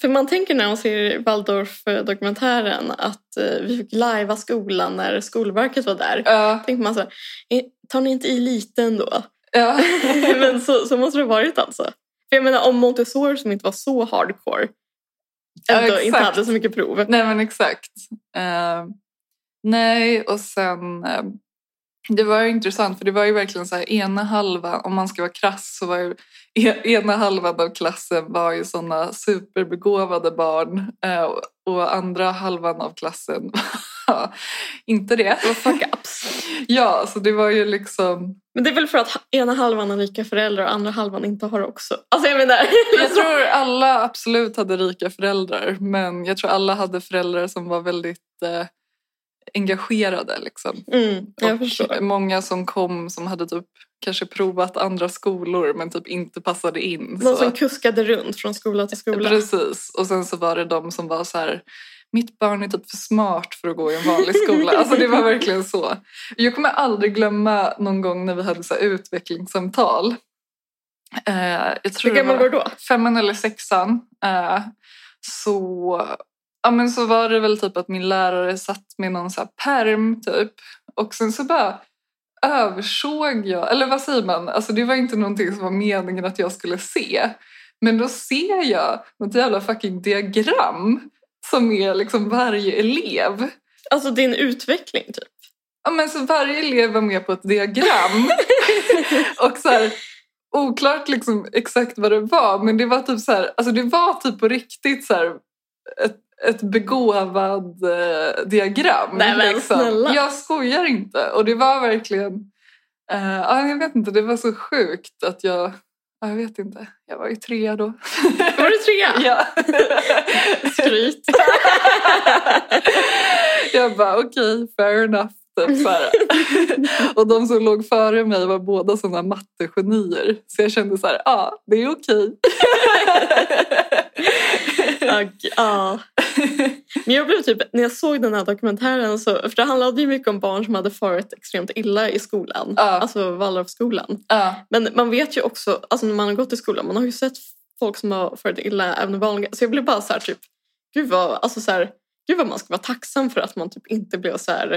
[SPEAKER 3] För man tänker när man ser Waldorf-dokumentären att eh, vi fick lajva skolan när Skolverket var där.
[SPEAKER 2] ja,
[SPEAKER 3] Tänker man så här, "Eh, tar ni inte i lite ändå?
[SPEAKER 2] ja.
[SPEAKER 3] Men så, så måste det ha varit alltså. För jag menar om Montessori som inte var så hardcore
[SPEAKER 2] Ja,
[SPEAKER 3] ändå inte
[SPEAKER 2] exakt.
[SPEAKER 3] hade så mycket prov.
[SPEAKER 2] Nej men exakt. Eh, nej och sen eh, det var ju intressant för det var ju verkligen så här ena halvan, om man ska vara krass så var ju e- ena halvan av klassen var ju sådana superbegåvade barn eh, och- och andra halvan av klassen var inte det.
[SPEAKER 3] Det var fuck-ups.
[SPEAKER 2] Ja, så det var ju liksom...
[SPEAKER 3] Men det är väl för att ha- ena halvan har rika föräldrar och andra halvan inte har också. Alltså jag menar,
[SPEAKER 2] Jag tror alla absolut hade rika föräldrar men jag tror alla hade föräldrar som var väldigt eh, engagerade liksom.
[SPEAKER 3] mm, jag
[SPEAKER 2] Och
[SPEAKER 3] förstår.
[SPEAKER 2] många som kom som hade typ kanske provat andra skolor men typ inte passade in.
[SPEAKER 3] Någon
[SPEAKER 2] så.
[SPEAKER 3] som kuskade runt från skola till skola.
[SPEAKER 2] Precis. Och sen så var det de som var så här mitt barn är typ för smart för att gå i en vanlig skola. Alltså det var verkligen så. Jag kommer aldrig glömma någon gång när vi hade så här utvecklingssamtal. Eh, jag tror
[SPEAKER 3] Hur gammal
[SPEAKER 2] det
[SPEAKER 3] var
[SPEAKER 2] var
[SPEAKER 3] du då?
[SPEAKER 2] femman eller sexan. Eh, så, ja, men så var det väl typ att min lärare satt med någon så här perm typ. Och sen så bara översåg jag, eller vad säger man? Alltså det var inte någonting som var meningen att jag skulle se. Men då ser jag något jävla fucking diagram som är liksom varje elev.
[SPEAKER 3] Alltså din utveckling typ.
[SPEAKER 2] Ja, men så varje elev var med på ett diagram. och så här, oklart liksom exakt vad det var, men det var typ så här, alltså det var typ på riktigt så här, ett, ett begåvad eh, diagram. liksom.
[SPEAKER 3] Nej, men snälla.
[SPEAKER 2] Jag skojar inte. Och det var verkligen, eh, ja, jag vet inte, det var så sjukt att jag, ja, jag vet inte, jag var ju trea då.
[SPEAKER 3] Var du trea?
[SPEAKER 2] ja.
[SPEAKER 3] Skryt.
[SPEAKER 2] Jag bara okej, fair enough. Typ, så här. och de som låg före mig var båda sådana mattegenier. Så jag kände så här, ja ah, det är okej.
[SPEAKER 3] Ja, g- Ja. Men jag blev typ, när jag såg den här dokumentären, så, för det handlade ju mycket om barn som hade farit extremt illa i skolan,
[SPEAKER 2] Ja.
[SPEAKER 3] alltså Waldorfskolan.
[SPEAKER 2] Ja,
[SPEAKER 3] Men man vet ju också, alltså när man har gått i skolan, man har ju sett folk som har farit illa även i vanliga, så jag blev bara så här typ, gud vad, alltså så här, gud vad man ska vara tacksam för att man typ inte blev så här,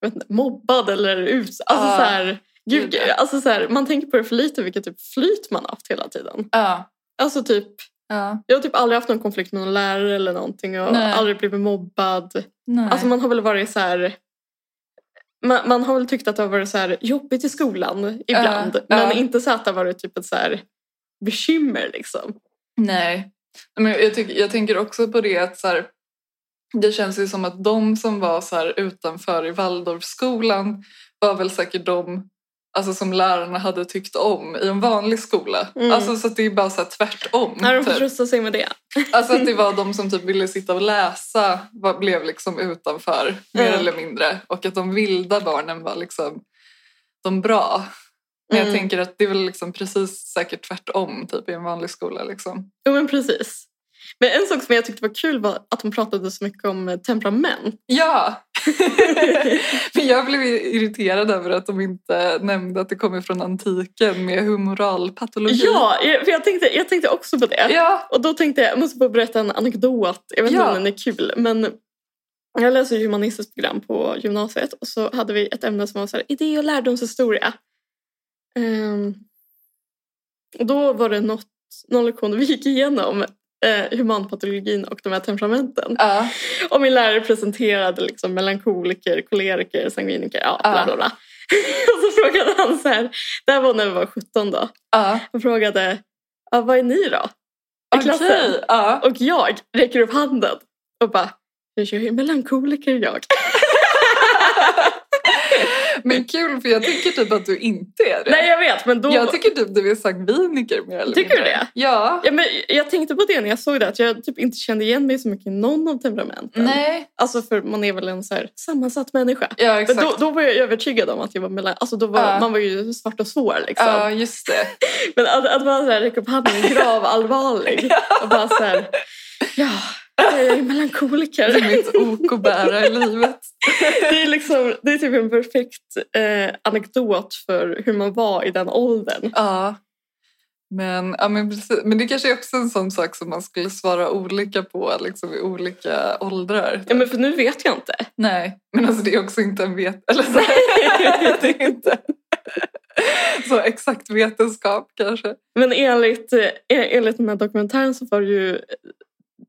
[SPEAKER 3] jag vet inte, mobbad eller ut, alltså
[SPEAKER 2] Ja.
[SPEAKER 3] så här, gud,
[SPEAKER 2] Ah, Gud, ja.
[SPEAKER 3] alltså så här, man tänker på det för lite vilket typ flyt man har haft hela tiden.
[SPEAKER 2] ja,
[SPEAKER 3] Alltså typ
[SPEAKER 2] ja.
[SPEAKER 3] jag har typ aldrig haft någon konflikt med någon lärare eller någonting och
[SPEAKER 2] Nej.
[SPEAKER 3] aldrig blivit mobbad.
[SPEAKER 2] Nej.
[SPEAKER 3] Alltså man har väl varit så här... Man, man har väl tyckt att det har varit så här jobbigt i skolan ibland.
[SPEAKER 2] Ja,
[SPEAKER 3] men
[SPEAKER 2] ja.
[SPEAKER 3] inte så att det har varit typ ett så här bekymmer liksom.
[SPEAKER 2] Nej. Men jag, jag, tycker, jag tänker också på det att så här, det känns ju som att de som var så här utanför i Waldorfskolan var väl säkert de alltså, som lärarna hade tyckt om i en vanlig skola.
[SPEAKER 3] Mm.
[SPEAKER 2] Alltså, så att det är bara så här, tvärtom.
[SPEAKER 3] När de får
[SPEAKER 2] typ.
[SPEAKER 3] trösta sig med det.
[SPEAKER 2] Alltså att det var de som typ ville sitta och läsa var, blev liksom utanför mer
[SPEAKER 3] Mm.
[SPEAKER 2] eller mindre och att de vilda barnen var liksom de bra. Men jag
[SPEAKER 3] Mm.
[SPEAKER 2] tänker att det är väl liksom precis säkert tvärtom typ i en vanlig skola liksom.
[SPEAKER 3] Jo men precis. Men en sak som jag tyckte var kul var att de pratade så mycket om eh, temperament.
[SPEAKER 2] Ja! Men jag blev ju irriterad över att de inte nämnde att det kommer från antiken med humoralpatologi.
[SPEAKER 3] Ja, jag- för jag tänkte, jag tänkte också på det.
[SPEAKER 2] Ja!
[SPEAKER 3] Och då tänkte jag, jag måste bara berätta en anekdot. Jag vet inte
[SPEAKER 2] Ja.
[SPEAKER 3] om den är kul, men jag läser ju humanistiskt program på gymnasiet och så hade vi ett ämne som var så här, idé och lärdomshistoria. Ehm, och då var det något, någon lektion vi gick igenom eh, humanpatologin och de här temperamenten.
[SPEAKER 2] Ja.
[SPEAKER 3] Och min lärare presenterade liksom melankoliker, koleriker, sanguiniker, ja,
[SPEAKER 2] Ja.
[SPEAKER 3] bla bla bla. och så frågade han så här, det här var när vi var 17 då,
[SPEAKER 2] Ja.
[SPEAKER 3] han frågade, ja, vad är ni då? I klassen?
[SPEAKER 2] Okej. Ja.
[SPEAKER 3] Och jag räcker upp handen och bara, jag är melankoliker jag.
[SPEAKER 2] Men kul för jag tycker typ att du inte är det.
[SPEAKER 3] Nej jag vet men då...
[SPEAKER 2] Jag tycker typ du är sangviniker mer eller
[SPEAKER 3] Tycker du
[SPEAKER 2] mindre.
[SPEAKER 3] det?
[SPEAKER 2] Ja.
[SPEAKER 3] ja, men jag tänkte på det när jag såg det, att jag typ inte kände igen mig så mycket i någon av temperamenten.
[SPEAKER 2] Nej.
[SPEAKER 3] Alltså för man är väl en så här sammansatt människa.
[SPEAKER 2] Ja,
[SPEAKER 3] Men
[SPEAKER 2] exakt.
[SPEAKER 3] då, då var jag övertygad om att jag var mellan... Alltså då var,
[SPEAKER 2] Ja.
[SPEAKER 3] man var ju svart och svår liksom.
[SPEAKER 2] Ja, just det.
[SPEAKER 3] Men att, att man så här räcker upp handen grav allvarlig och bara så här, ja, jag är
[SPEAKER 2] Det
[SPEAKER 3] melankoliker.
[SPEAKER 2] är mitt ok att bära i livet.
[SPEAKER 3] Det är, liksom, det är typ en perfekt eh, anekdot för hur man var i den åldern.
[SPEAKER 2] Ja. Men, ja, men, precis. men det kanske är också en sån sak som man skulle svara olika på liksom, i olika åldrar.
[SPEAKER 3] Ja, men för nu vet jag inte.
[SPEAKER 2] Nej, men alltså det är också inte en vet... Eller så här, det är inte så exakt vetenskap kanske.
[SPEAKER 3] Men enligt, eh, enligt den här dokumentären så var det ju eh,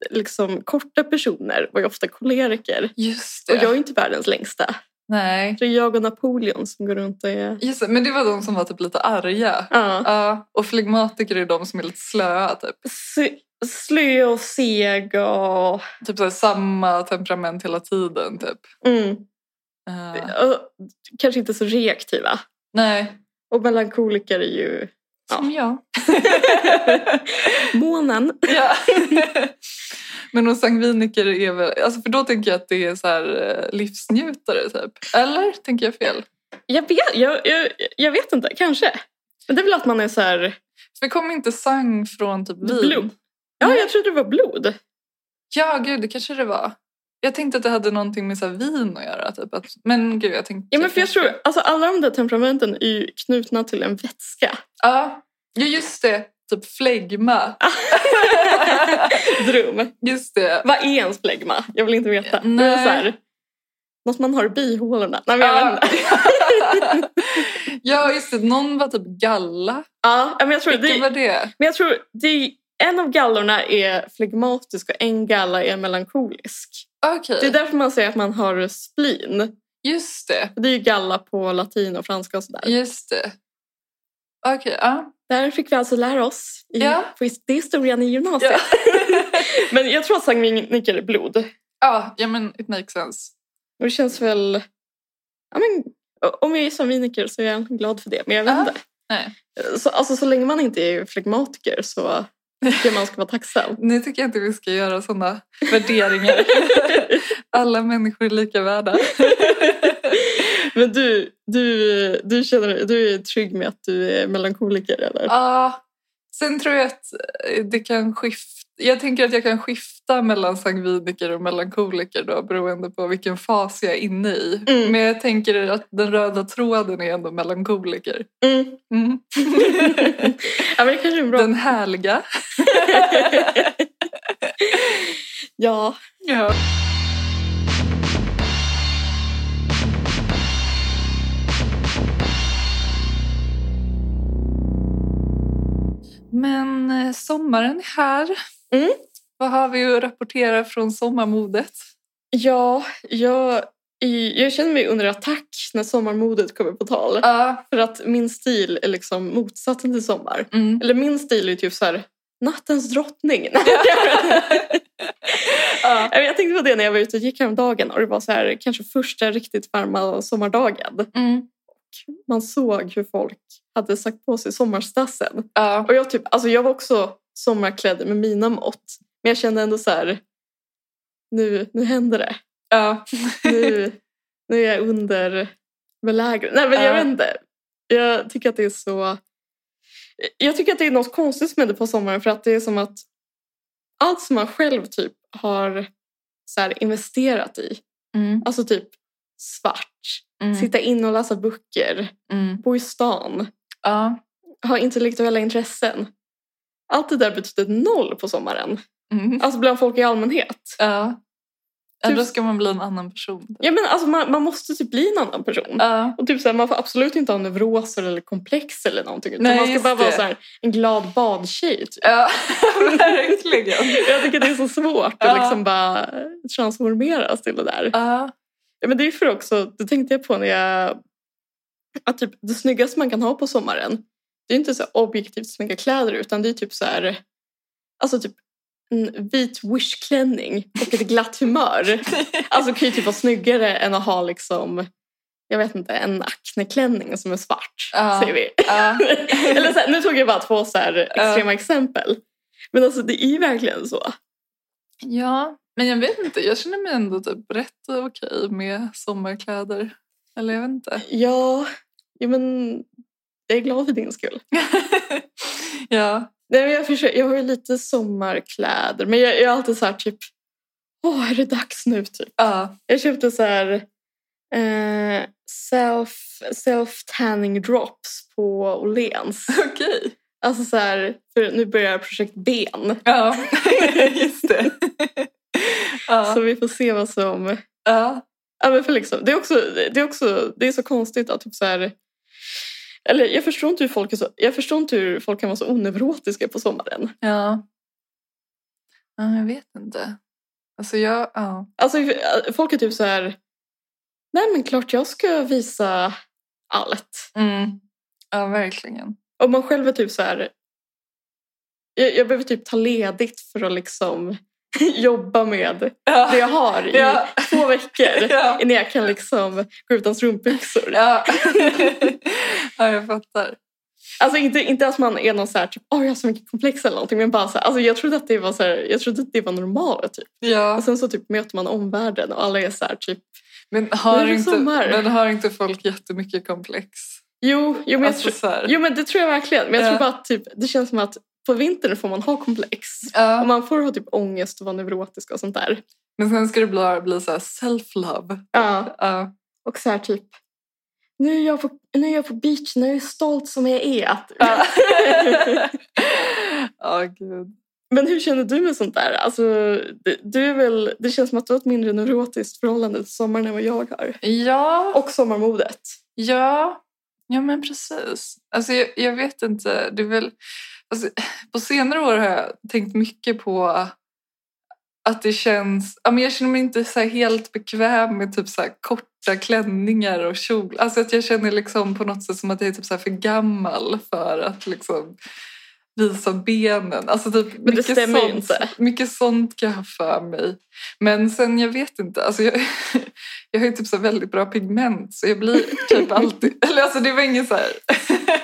[SPEAKER 3] liksom korta personer var ju ofta koleriker.
[SPEAKER 2] Just
[SPEAKER 3] Och jag är inte världens längsta.
[SPEAKER 2] Nej.
[SPEAKER 3] Det är jag och Napoleon som går runt och är...
[SPEAKER 2] Just det, men det var de som var typ lite arga.
[SPEAKER 3] Ja.
[SPEAKER 2] Ja, och flegmatiker är de som är lite slöa typ.
[SPEAKER 3] Sy- Slö och seg och...
[SPEAKER 2] Typ så här, samma temperament hela tiden typ. Eh,
[SPEAKER 3] Mm.
[SPEAKER 2] Ja.
[SPEAKER 3] och kanske inte så reaktiva.
[SPEAKER 2] nej,
[SPEAKER 3] Och melankoliker är ju
[SPEAKER 2] som jag.
[SPEAKER 3] månen.
[SPEAKER 2] Ja. Men hos sangviniker är väl... Alltså för då tänker jag att det är så här eh, livsnjutare typ. Eller? Tänker jag fel?
[SPEAKER 3] Jag vet, jag, jag, jag vet inte, kanske. Men det är väl att man är så här...
[SPEAKER 2] För kom inte sang från typ vin? Mm.
[SPEAKER 3] Blod. Ja, jag trodde det var blod.
[SPEAKER 2] Ja, gud, det kanske det var. Jag tänkte att det hade någonting med så här vin att göra. Typ. Att, men gud, jag tänkte...
[SPEAKER 3] Ja, men för jag tror, alltså alla de där temperamenten är ju knutna till en vätska.
[SPEAKER 2] Ja, ja just det. Typ flegma.
[SPEAKER 3] Drum.
[SPEAKER 2] Just det.
[SPEAKER 3] Vad är ens flegma? Jag vill inte veta.
[SPEAKER 2] Nej.
[SPEAKER 3] Det är så här, något man har i bihålorna. Nej, men jag vet inte.
[SPEAKER 2] ja, just det. Någon var typ galla.
[SPEAKER 3] Ja, men jag tror,
[SPEAKER 2] Vilken var
[SPEAKER 3] det,
[SPEAKER 2] det?
[SPEAKER 3] men jag tror det, en av gallorna är flegmatisk och en galla är melankolisk.
[SPEAKER 2] Okej,
[SPEAKER 3] Det är därför man säger att man har splin.
[SPEAKER 2] just det.
[SPEAKER 3] Det är ju galla på latin och franska och sådär.
[SPEAKER 2] Just det. Okej, ja.
[SPEAKER 3] Där fick vi alltså lära oss i,
[SPEAKER 2] Ja.
[SPEAKER 3] på his- det är historien i gymnasiet. men jag tror att sangviniker är blod.
[SPEAKER 2] Ja, ja men it makes sense.
[SPEAKER 3] Och det känns väl... Ja, men, om jag är sangviniker så är jag glad för det. Men jag vet
[SPEAKER 2] Ja.
[SPEAKER 3] inte.
[SPEAKER 2] Nej.
[SPEAKER 3] Så, alltså, så länge man inte är flegmatiker så tycker jag man ska vara tacksam.
[SPEAKER 2] Nu tycker jag inte vi ska göra sådana värderingar. Alla människor är lika värda.
[SPEAKER 3] Men du, du, du, känner, du är trygg med att du är melankoliker eller?
[SPEAKER 2] Ja, sen tror jag att eh, det kan skifta. Jag tänker att jag kan skifta mellan sangviniker och melankoliker då, beroende på vilken fas jag är inne i.
[SPEAKER 3] Mm.
[SPEAKER 2] Men jag tänker att den röda tråden är ändå melankoliker.
[SPEAKER 3] Mm.
[SPEAKER 2] Mm.
[SPEAKER 3] ja, men det kanske är bra.
[SPEAKER 2] Den härliga.
[SPEAKER 3] Ja.
[SPEAKER 2] Ja. Men eh, sommaren är här.
[SPEAKER 3] Mm.
[SPEAKER 2] Vad har vi att rapportera från sommarmodet?
[SPEAKER 3] Ja, jag, jag känner mig under attack när sommarmodet kommer på tal.
[SPEAKER 2] Ja.
[SPEAKER 3] För att min stil är liksom motsatsen till sommar.
[SPEAKER 2] Mm.
[SPEAKER 3] Eller min stil är ju typ så här, nattens drottning. Nej,
[SPEAKER 2] Ja.
[SPEAKER 3] men jag tänkte på det när jag var ute och gick häromdagen och det var så här, kanske första riktigt varma sommardagen.
[SPEAKER 2] Mm.
[SPEAKER 3] Man såg hur folk hade sagt på sig sommarstassen.
[SPEAKER 2] Ja.
[SPEAKER 3] Och jag, typ, alltså jag var också sommarklädd med mina mått. Men jag kände ändå så här, nu, nu händer det.
[SPEAKER 2] Ja.
[SPEAKER 3] Nu, nu är jag under belägrad. Nej men jag
[SPEAKER 2] Ja.
[SPEAKER 3] vet inte. Jag tycker att det är så... Jag tycker att det är något konstigt som händer på sommaren för att det är som att allt som man själv typ har så här investerat i,
[SPEAKER 2] Mm.
[SPEAKER 3] alltså typ svart,
[SPEAKER 2] Mm.
[SPEAKER 3] sitta in och läsa böcker,
[SPEAKER 2] Mm.
[SPEAKER 3] bo i stan,
[SPEAKER 2] Ja.
[SPEAKER 3] ha intellektuella intressen. Allt det där betyder noll på sommaren.
[SPEAKER 2] Mm.
[SPEAKER 3] Alltså bland folk i allmänhet.
[SPEAKER 2] Ja. Ja,
[SPEAKER 3] Typ-
[SPEAKER 2] Då ska man bli en annan person.
[SPEAKER 3] Ja, men alltså man, man måste typ bli en annan person.
[SPEAKER 2] Ja.
[SPEAKER 3] Och typ såhär, man får absolut inte ha neuroser eller komplex eller någonting. Utan
[SPEAKER 2] Nej,
[SPEAKER 3] man ska
[SPEAKER 2] just
[SPEAKER 3] bara vara
[SPEAKER 2] det.
[SPEAKER 3] såhär, en glad badtjej. Typ.
[SPEAKER 2] Ja, verkligen.
[SPEAKER 3] Jag tycker det är så svårt
[SPEAKER 2] Ja.
[SPEAKER 3] att liksom bara transformeras till det där.
[SPEAKER 2] Ja.
[SPEAKER 3] Ja, men det är för också, det tänkte jag på när jag... Att typ, det snyggaste man kan ha på sommaren, det är inte så här objektivt snygga kläder utan det är typ så här, alltså typ en vit wishklänning och ett glatt humör. Alltså kan ju typ vara snyggare än att ha liksom, jag vet inte, en akneklänning som är svart.
[SPEAKER 2] Ja.
[SPEAKER 3] Säger vi.
[SPEAKER 2] Ja.
[SPEAKER 3] Eller så här, nu tog jag bara två så här extrema exempel. Men alltså det är ju verkligen så.
[SPEAKER 2] Ja, men jag vet inte. Jag känner mig ändå typ rätt okej med sommarkläder. Eller jag vet inte.
[SPEAKER 3] Ja, ja men jag är glad för din skull.
[SPEAKER 2] ja.
[SPEAKER 3] Nej, men jag, försöker, jag har ju lite sommarkläder, men jag, jag är alltid så här typ... Åh, är det dags nu? Typ.
[SPEAKER 2] Ja.
[SPEAKER 3] Jag köpte så här eh, self, self-tanning drops på Åhléns.
[SPEAKER 2] Okej.
[SPEAKER 3] Alltså så här, för nu börjar projekt Ben.
[SPEAKER 2] Ja, just det. Ja.
[SPEAKER 3] Så vi får se vad som...
[SPEAKER 2] Ja.
[SPEAKER 3] Ja, men för liksom, det, är också, det, är också, det är så konstigt att typ så här... Eller jag förstår, inte hur folk är så, jag förstår inte hur folk kan vara så oneurotiska på sommaren.
[SPEAKER 2] Ja. ja, jag vet inte. Alltså jag, ja.
[SPEAKER 3] Alltså folk är typ så här... Nej men klart jag ska visa allt.
[SPEAKER 2] Mm. Ja, verkligen.
[SPEAKER 3] Och man själv är typ så här... Jag, jag behöver typ ta ledigt för att liksom jobba med det jag har i
[SPEAKER 2] Ja.
[SPEAKER 3] två veckor.
[SPEAKER 2] Ja.
[SPEAKER 3] Innan jag kan liksom gå utan strumpbyxor.
[SPEAKER 2] Ja. ja, jag fattar.
[SPEAKER 3] Alltså inte, inte att man är någon så här typ, åh jag har så mycket komplex eller någonting. Men bara så här, alltså jag trodde att det var så här, jag trodde att det var normalt typ.
[SPEAKER 2] Ja.
[SPEAKER 3] Och sen så typ möter man omvärlden och alla är så här typ,
[SPEAKER 2] Men
[SPEAKER 3] Nu
[SPEAKER 2] har,
[SPEAKER 3] är det
[SPEAKER 2] inte,
[SPEAKER 3] sommar.
[SPEAKER 2] men har inte folk jättemycket komplex?
[SPEAKER 3] jo, jo men jag
[SPEAKER 2] Alltså
[SPEAKER 3] tror,
[SPEAKER 2] så här.
[SPEAKER 3] Jo men det tror jag verkligen. Men jag
[SPEAKER 2] Ja.
[SPEAKER 3] tror bara att typ, det känns som att på vintern får man ha komplex. Och
[SPEAKER 2] Ja.
[SPEAKER 3] man får ha typ ångest och vara neurotisk och sånt där.
[SPEAKER 2] Men sen ska det bli, bli så här self-love.
[SPEAKER 3] Ja.
[SPEAKER 2] Ja.
[SPEAKER 3] Och så här typ, nu är jag på, nu är jag på beach, nu är jag stolt som jag är. Att...
[SPEAKER 2] Ja, Ja, gud.
[SPEAKER 3] men hur känner du med sånt där? Alltså, det, du är väl, det känns som att du har ett mindre neurotiskt förhållande till sommaren än vad jag har.
[SPEAKER 2] Ja,
[SPEAKER 3] Och sommarmodet.
[SPEAKER 2] ja. Ja, men precis. Alltså, jag, jag vet inte. Det är väl, alltså, på senare år har jag tänkt mycket på att det känns... Ja, men jag känner mig inte så här helt bekväm med typ så här korta klänningar och kjol. Alltså att jag känner liksom på något sätt som att jag är typ så här för gammal för att liksom visa benen. Alltså typ
[SPEAKER 3] det stämmer ju
[SPEAKER 2] sånt,
[SPEAKER 3] inte.
[SPEAKER 2] Mycket sånt kan jag ha för mig. Men sen, jag vet inte. Alltså jag, jag har ju typ så här väldigt bra pigment så jag blir typ alltid... Eller alltså det var ingen så här...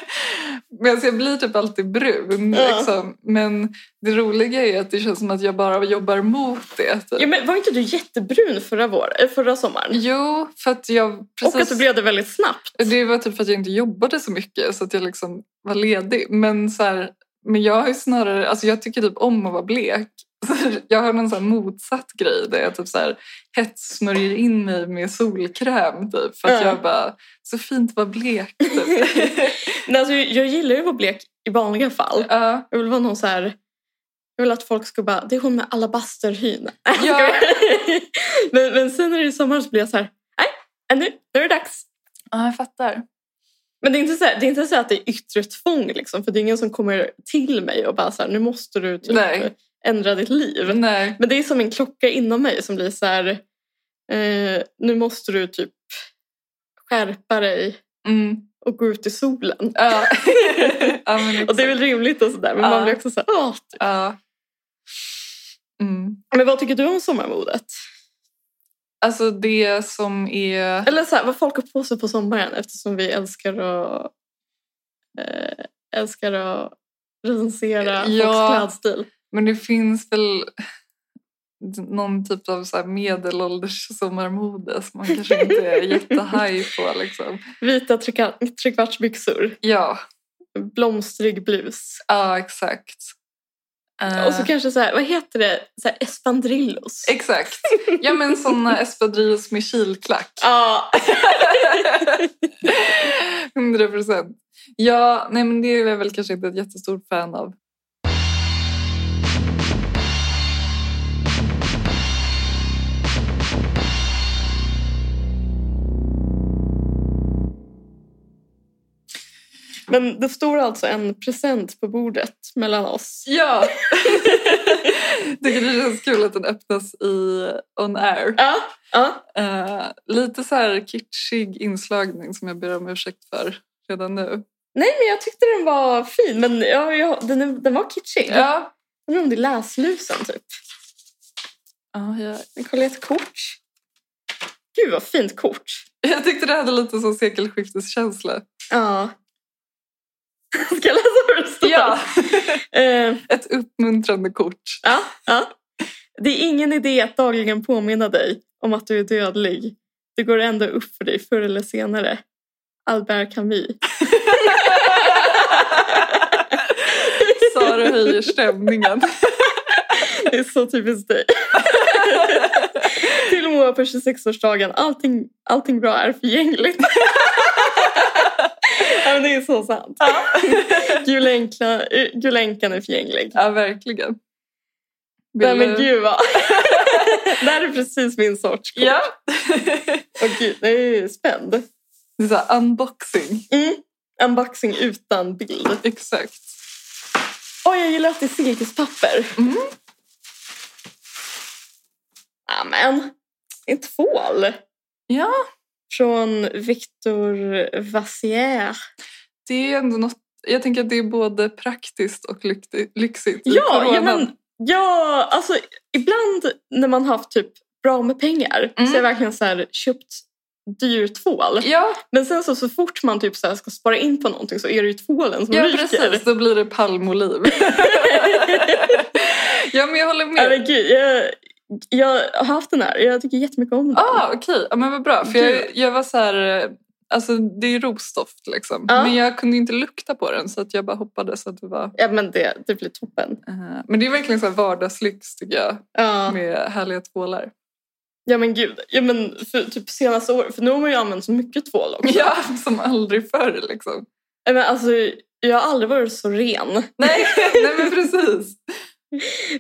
[SPEAKER 2] Men alltså jag blir typ alltid brun.
[SPEAKER 3] Ja.
[SPEAKER 2] Liksom. Men det roliga är att det känns som att jag bara jobbar mot det. Typ.
[SPEAKER 3] Ja, men var inte du jättebrun förra, vår, eh, förra sommaren?
[SPEAKER 2] Jo, för att jag... Precis,
[SPEAKER 3] Och att du blev det väldigt snabbt.
[SPEAKER 2] Det var typ för att jag inte jobbade så mycket så att jag liksom var ledig. Men, så här, men jag har ju snarare... Alltså jag tycker typ om att vara blek. Så Jag har någon så här motsatt grej där jag typ så här hetssmörjer in mig med solkräm typ. För att
[SPEAKER 3] Ja.
[SPEAKER 2] jag bara, så fint att vara blek typ.
[SPEAKER 3] Nej, alltså, jag gillar ju att vara blek i vanliga fall.
[SPEAKER 2] Ja.
[SPEAKER 3] Jag vill vara någon så här... Jag vill att folk ska bara, det är hon med alabasterhyn.
[SPEAKER 2] Ja.
[SPEAKER 3] men, men sen när det är sommar så blir jag så här, nej, nu, nu är det dags.
[SPEAKER 2] ja, jag fattar.
[SPEAKER 3] Men det är inte så, här, det är inte så här att det är yttre tvång, liksom, för det är ingen som kommer till mig och bara så här, nu måste du typ
[SPEAKER 2] Nej.
[SPEAKER 3] ändra ditt liv.
[SPEAKER 2] Nej.
[SPEAKER 3] Men det är som en klocka inom mig som blir så här, eh, nu måste du typ skärpa dig
[SPEAKER 2] Mm.
[SPEAKER 3] och gå ut i solen.
[SPEAKER 2] Ja. ja, men exakt.
[SPEAKER 3] Och det är väl rimligt och sådär, men
[SPEAKER 2] Ja.
[SPEAKER 3] man blir också så här, åh, typ.
[SPEAKER 2] Ja. Mm.
[SPEAKER 3] Men vad tycker du om sommarmodet?
[SPEAKER 2] Alltså det som är...
[SPEAKER 3] Eller så här, vad folk har på sig på sommaren eftersom vi älskar att, eh, älskar att recensera
[SPEAKER 2] Ja.
[SPEAKER 3] folks klädstil.
[SPEAKER 2] Men det finns väl någon typ av så här medelålders sommarmode som man kanske inte är jättehaj på. Liksom.
[SPEAKER 3] Vita trekva- trekvartsbyxor,
[SPEAKER 2] Ja,
[SPEAKER 3] blomstrig blus.
[SPEAKER 2] ja exakt. Eh,
[SPEAKER 3] Och så kanske så här, vad heter det, så här espandrillos.
[SPEAKER 2] Exakt. Ja men såna espadrilles med kilklack.
[SPEAKER 3] Ja,
[SPEAKER 2] 100 procent. Ja, nej men det är jag väl kanske inte ett jättestort fan av.
[SPEAKER 3] men det står alltså en present på bordet mellan oss.
[SPEAKER 2] Ja! Tycker det känns kul att den öppnas i on air.
[SPEAKER 3] Ja, ja.
[SPEAKER 2] Eh, lite så här kitschig inslagning som jag ber om ursäkt för redan nu.
[SPEAKER 3] Nej, men jag tyckte den var fin. Men ja, ja, den, är- den var kitschig.
[SPEAKER 2] Ja,
[SPEAKER 3] Undrar om det är läslusen typ.
[SPEAKER 2] ja jag,
[SPEAKER 3] Men kolla ett kort. Gud vad fint kort.
[SPEAKER 2] jag tyckte det hade lite så sekelskifteskänsla.
[SPEAKER 3] Ja. Ska jag läsa vad det står? Eh,
[SPEAKER 2] Ett uppmuntrande kort.
[SPEAKER 3] ja, ja. Det är ingen idé att dagligen påminna dig om att du är dödlig. Det går ändå upp för dig förr eller senare. Albert Camus.
[SPEAKER 2] Sara höjer stämningen.
[SPEAKER 3] Det är så typiskt dig. Till och med på 26-årsdagen. Allting, allting bra är förgängligt. Ja, men det är så sant. Gula, enkla, eh, gula änkan är förgänglig.
[SPEAKER 2] Ja, verkligen.
[SPEAKER 3] Nej
[SPEAKER 2] Vill
[SPEAKER 3] men
[SPEAKER 2] du-
[SPEAKER 3] gud vad. det här är precis min sorts kort.
[SPEAKER 2] Ja.
[SPEAKER 3] Och gud, jag är spänd.
[SPEAKER 2] Det är så här, unboxing.
[SPEAKER 3] Mm. Unboxing utan bild.
[SPEAKER 2] Exakt.
[SPEAKER 3] Oj, jag gillar att det är silkespapper.
[SPEAKER 2] Mm.
[SPEAKER 3] Amen. En tvål
[SPEAKER 2] Ja,
[SPEAKER 3] från Victor Vassier.
[SPEAKER 2] det är ändå något. Jag tänker att det är både praktiskt och lyck- lyxigt i
[SPEAKER 3] Ja, ja,
[SPEAKER 2] coronan.
[SPEAKER 3] men, ja, alltså ibland när man har haft typ bra med pengar så
[SPEAKER 2] Mm.
[SPEAKER 3] har jag verkligen så här, köpt dyr tvål.
[SPEAKER 2] Ja,
[SPEAKER 3] Men sen så, så fort man typ så här ska spara in på någonting så är det ju tvålen som
[SPEAKER 2] ja
[SPEAKER 3] ryker.
[SPEAKER 2] precis. Då blir det palmoliv. ja, men jag håller
[SPEAKER 3] Ja,
[SPEAKER 2] med.
[SPEAKER 3] men gud, jag, jag har haft den här. Jag tycker jättemycket om den.
[SPEAKER 2] Ah, Okej, ja, men vad bra. För
[SPEAKER 3] Gud.
[SPEAKER 2] jag, jag var så här... eh, Alltså, det är ju rosdoft, liksom.
[SPEAKER 3] Ja.
[SPEAKER 2] men jag kunde inte lukta på den så att jag bara hoppades att det var...
[SPEAKER 3] Ja, men det, det blir toppen.
[SPEAKER 2] eh, men det är verkligen så här vardagslyx, tycker jag,
[SPEAKER 3] Ja,
[SPEAKER 2] med härliga tvålar.
[SPEAKER 3] ja men gud. Ja, men för, typ senaste året, för nu har man ju använt så mycket tvål också.
[SPEAKER 2] Ja, som aldrig förr, liksom.
[SPEAKER 3] Ja, Men alltså, jag har aldrig varit så ren.
[SPEAKER 2] Nej, nej men precis.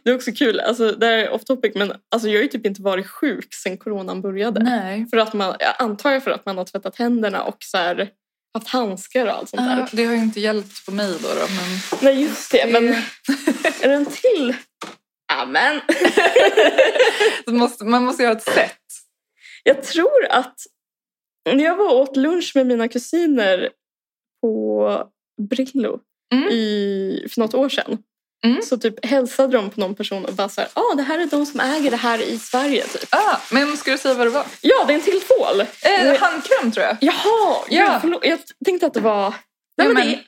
[SPEAKER 3] Det är också kul, alltså, det här är off topic, men alltså, jag har ju typ inte varit sjuk sen coronan började.
[SPEAKER 2] Nej.
[SPEAKER 3] För att man, jag antar jag för att man har tvättat händerna och så här, haft handskar och allt sånt där.
[SPEAKER 2] Ja, Eh, det har ju inte hjälpt på mig då. då men...
[SPEAKER 3] Nej, just det. Men
[SPEAKER 2] Det-
[SPEAKER 3] är det en till? Amen.
[SPEAKER 2] det måste, man måste göra ett sätt.
[SPEAKER 3] Jag tror att när jag var och åt lunch med mina kusiner på Brillo
[SPEAKER 2] Mm.
[SPEAKER 3] i, för något år sedan
[SPEAKER 2] Mm.
[SPEAKER 3] så typ hälsade de på någon person och bara så här, ah, det här är de som äger det här i Sverige. Typ.
[SPEAKER 2] Ah, men ska du säga vad det var?
[SPEAKER 3] Ja, det är en till tvål. Nej.
[SPEAKER 2] Eh, handkräm tror jag.
[SPEAKER 3] Jaha, ja.
[SPEAKER 2] Ja.
[SPEAKER 3] gud, förlåt. jag tänkte att det var...
[SPEAKER 2] Ja,
[SPEAKER 3] Nej, men
[SPEAKER 2] men-
[SPEAKER 3] det, är-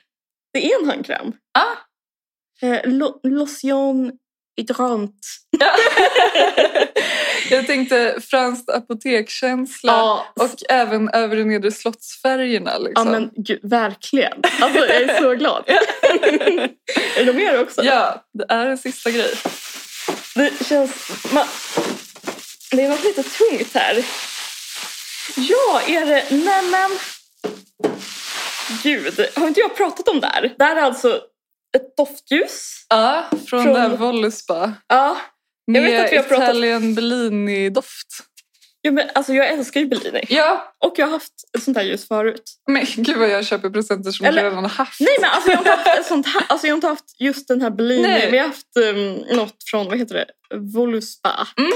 [SPEAKER 3] det är en handkräm.
[SPEAKER 2] Ah.
[SPEAKER 3] Eh, lo, lotion hydrant.
[SPEAKER 2] Jag tänkte franskt apotekskänsla
[SPEAKER 3] och
[SPEAKER 2] och även övre och nedre slottsfärgerna.
[SPEAKER 3] Ja
[SPEAKER 2] Liksom.
[SPEAKER 3] men gud, verkligen. Alltså jag är så glad. är det mer också?
[SPEAKER 2] ja, det är en sista grej.
[SPEAKER 3] Det känns... Man, det är något lite tungt här. Ja, är det... Nej men... Gud, har inte jag pratat om det här? Det här är alltså ett doftljus.
[SPEAKER 2] Ja, från,
[SPEAKER 3] Från-
[SPEAKER 2] det här Voluspa.
[SPEAKER 3] Ja.
[SPEAKER 2] Med
[SPEAKER 3] vet att vi har pratat-
[SPEAKER 2] Italian Bellini-doft.
[SPEAKER 3] Jo, men, alltså, jag älskar ju Bellini.
[SPEAKER 2] Ja,
[SPEAKER 3] Och jag har haft ett sånt här ljus förut.
[SPEAKER 2] men gud vad jag köper presenter som
[SPEAKER 3] Eller-
[SPEAKER 2] jag redan har haft.
[SPEAKER 3] Nej men alltså jag har inte haft, ett sånt här, alltså, jag har inte haft just den här Bellini.
[SPEAKER 2] Nej.
[SPEAKER 3] Men jag har haft um, något från, vad heter det, Voluspa.
[SPEAKER 2] Mm.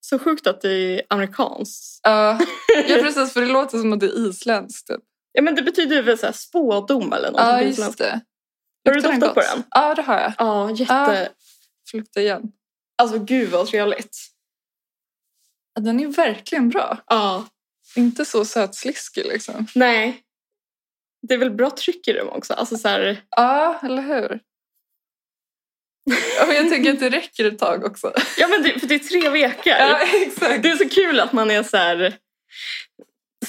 [SPEAKER 3] Så sjukt att det är amerikanskt.
[SPEAKER 2] Ja, ja, precis. För det låter som att det är isländskt. Typ.
[SPEAKER 3] Ja men det betyder väl så här spådom eller något.
[SPEAKER 2] Ja,
[SPEAKER 3] på
[SPEAKER 2] just
[SPEAKER 3] utländska.
[SPEAKER 2] det.
[SPEAKER 3] Har du
[SPEAKER 2] Luktar
[SPEAKER 3] doftat på
[SPEAKER 2] gott?
[SPEAKER 3] den?
[SPEAKER 2] Ja, det har jag.
[SPEAKER 3] Ja, jätte...
[SPEAKER 2] Får lukta igen.
[SPEAKER 3] Alltså gud vad trevligt.
[SPEAKER 2] Ja, Den är verkligen bra.
[SPEAKER 3] Ja,
[SPEAKER 2] Inte så sötsliskig liksom.
[SPEAKER 3] nej. Det är väl bra tryck i dem också. Alltså så här,
[SPEAKER 2] Ja, eller hur? Ja, men jag tänker att det räcker ett tag också.
[SPEAKER 3] ja men det, för det är tre vekar.
[SPEAKER 2] Ja, exakt.
[SPEAKER 3] Det är så kul att man är så här...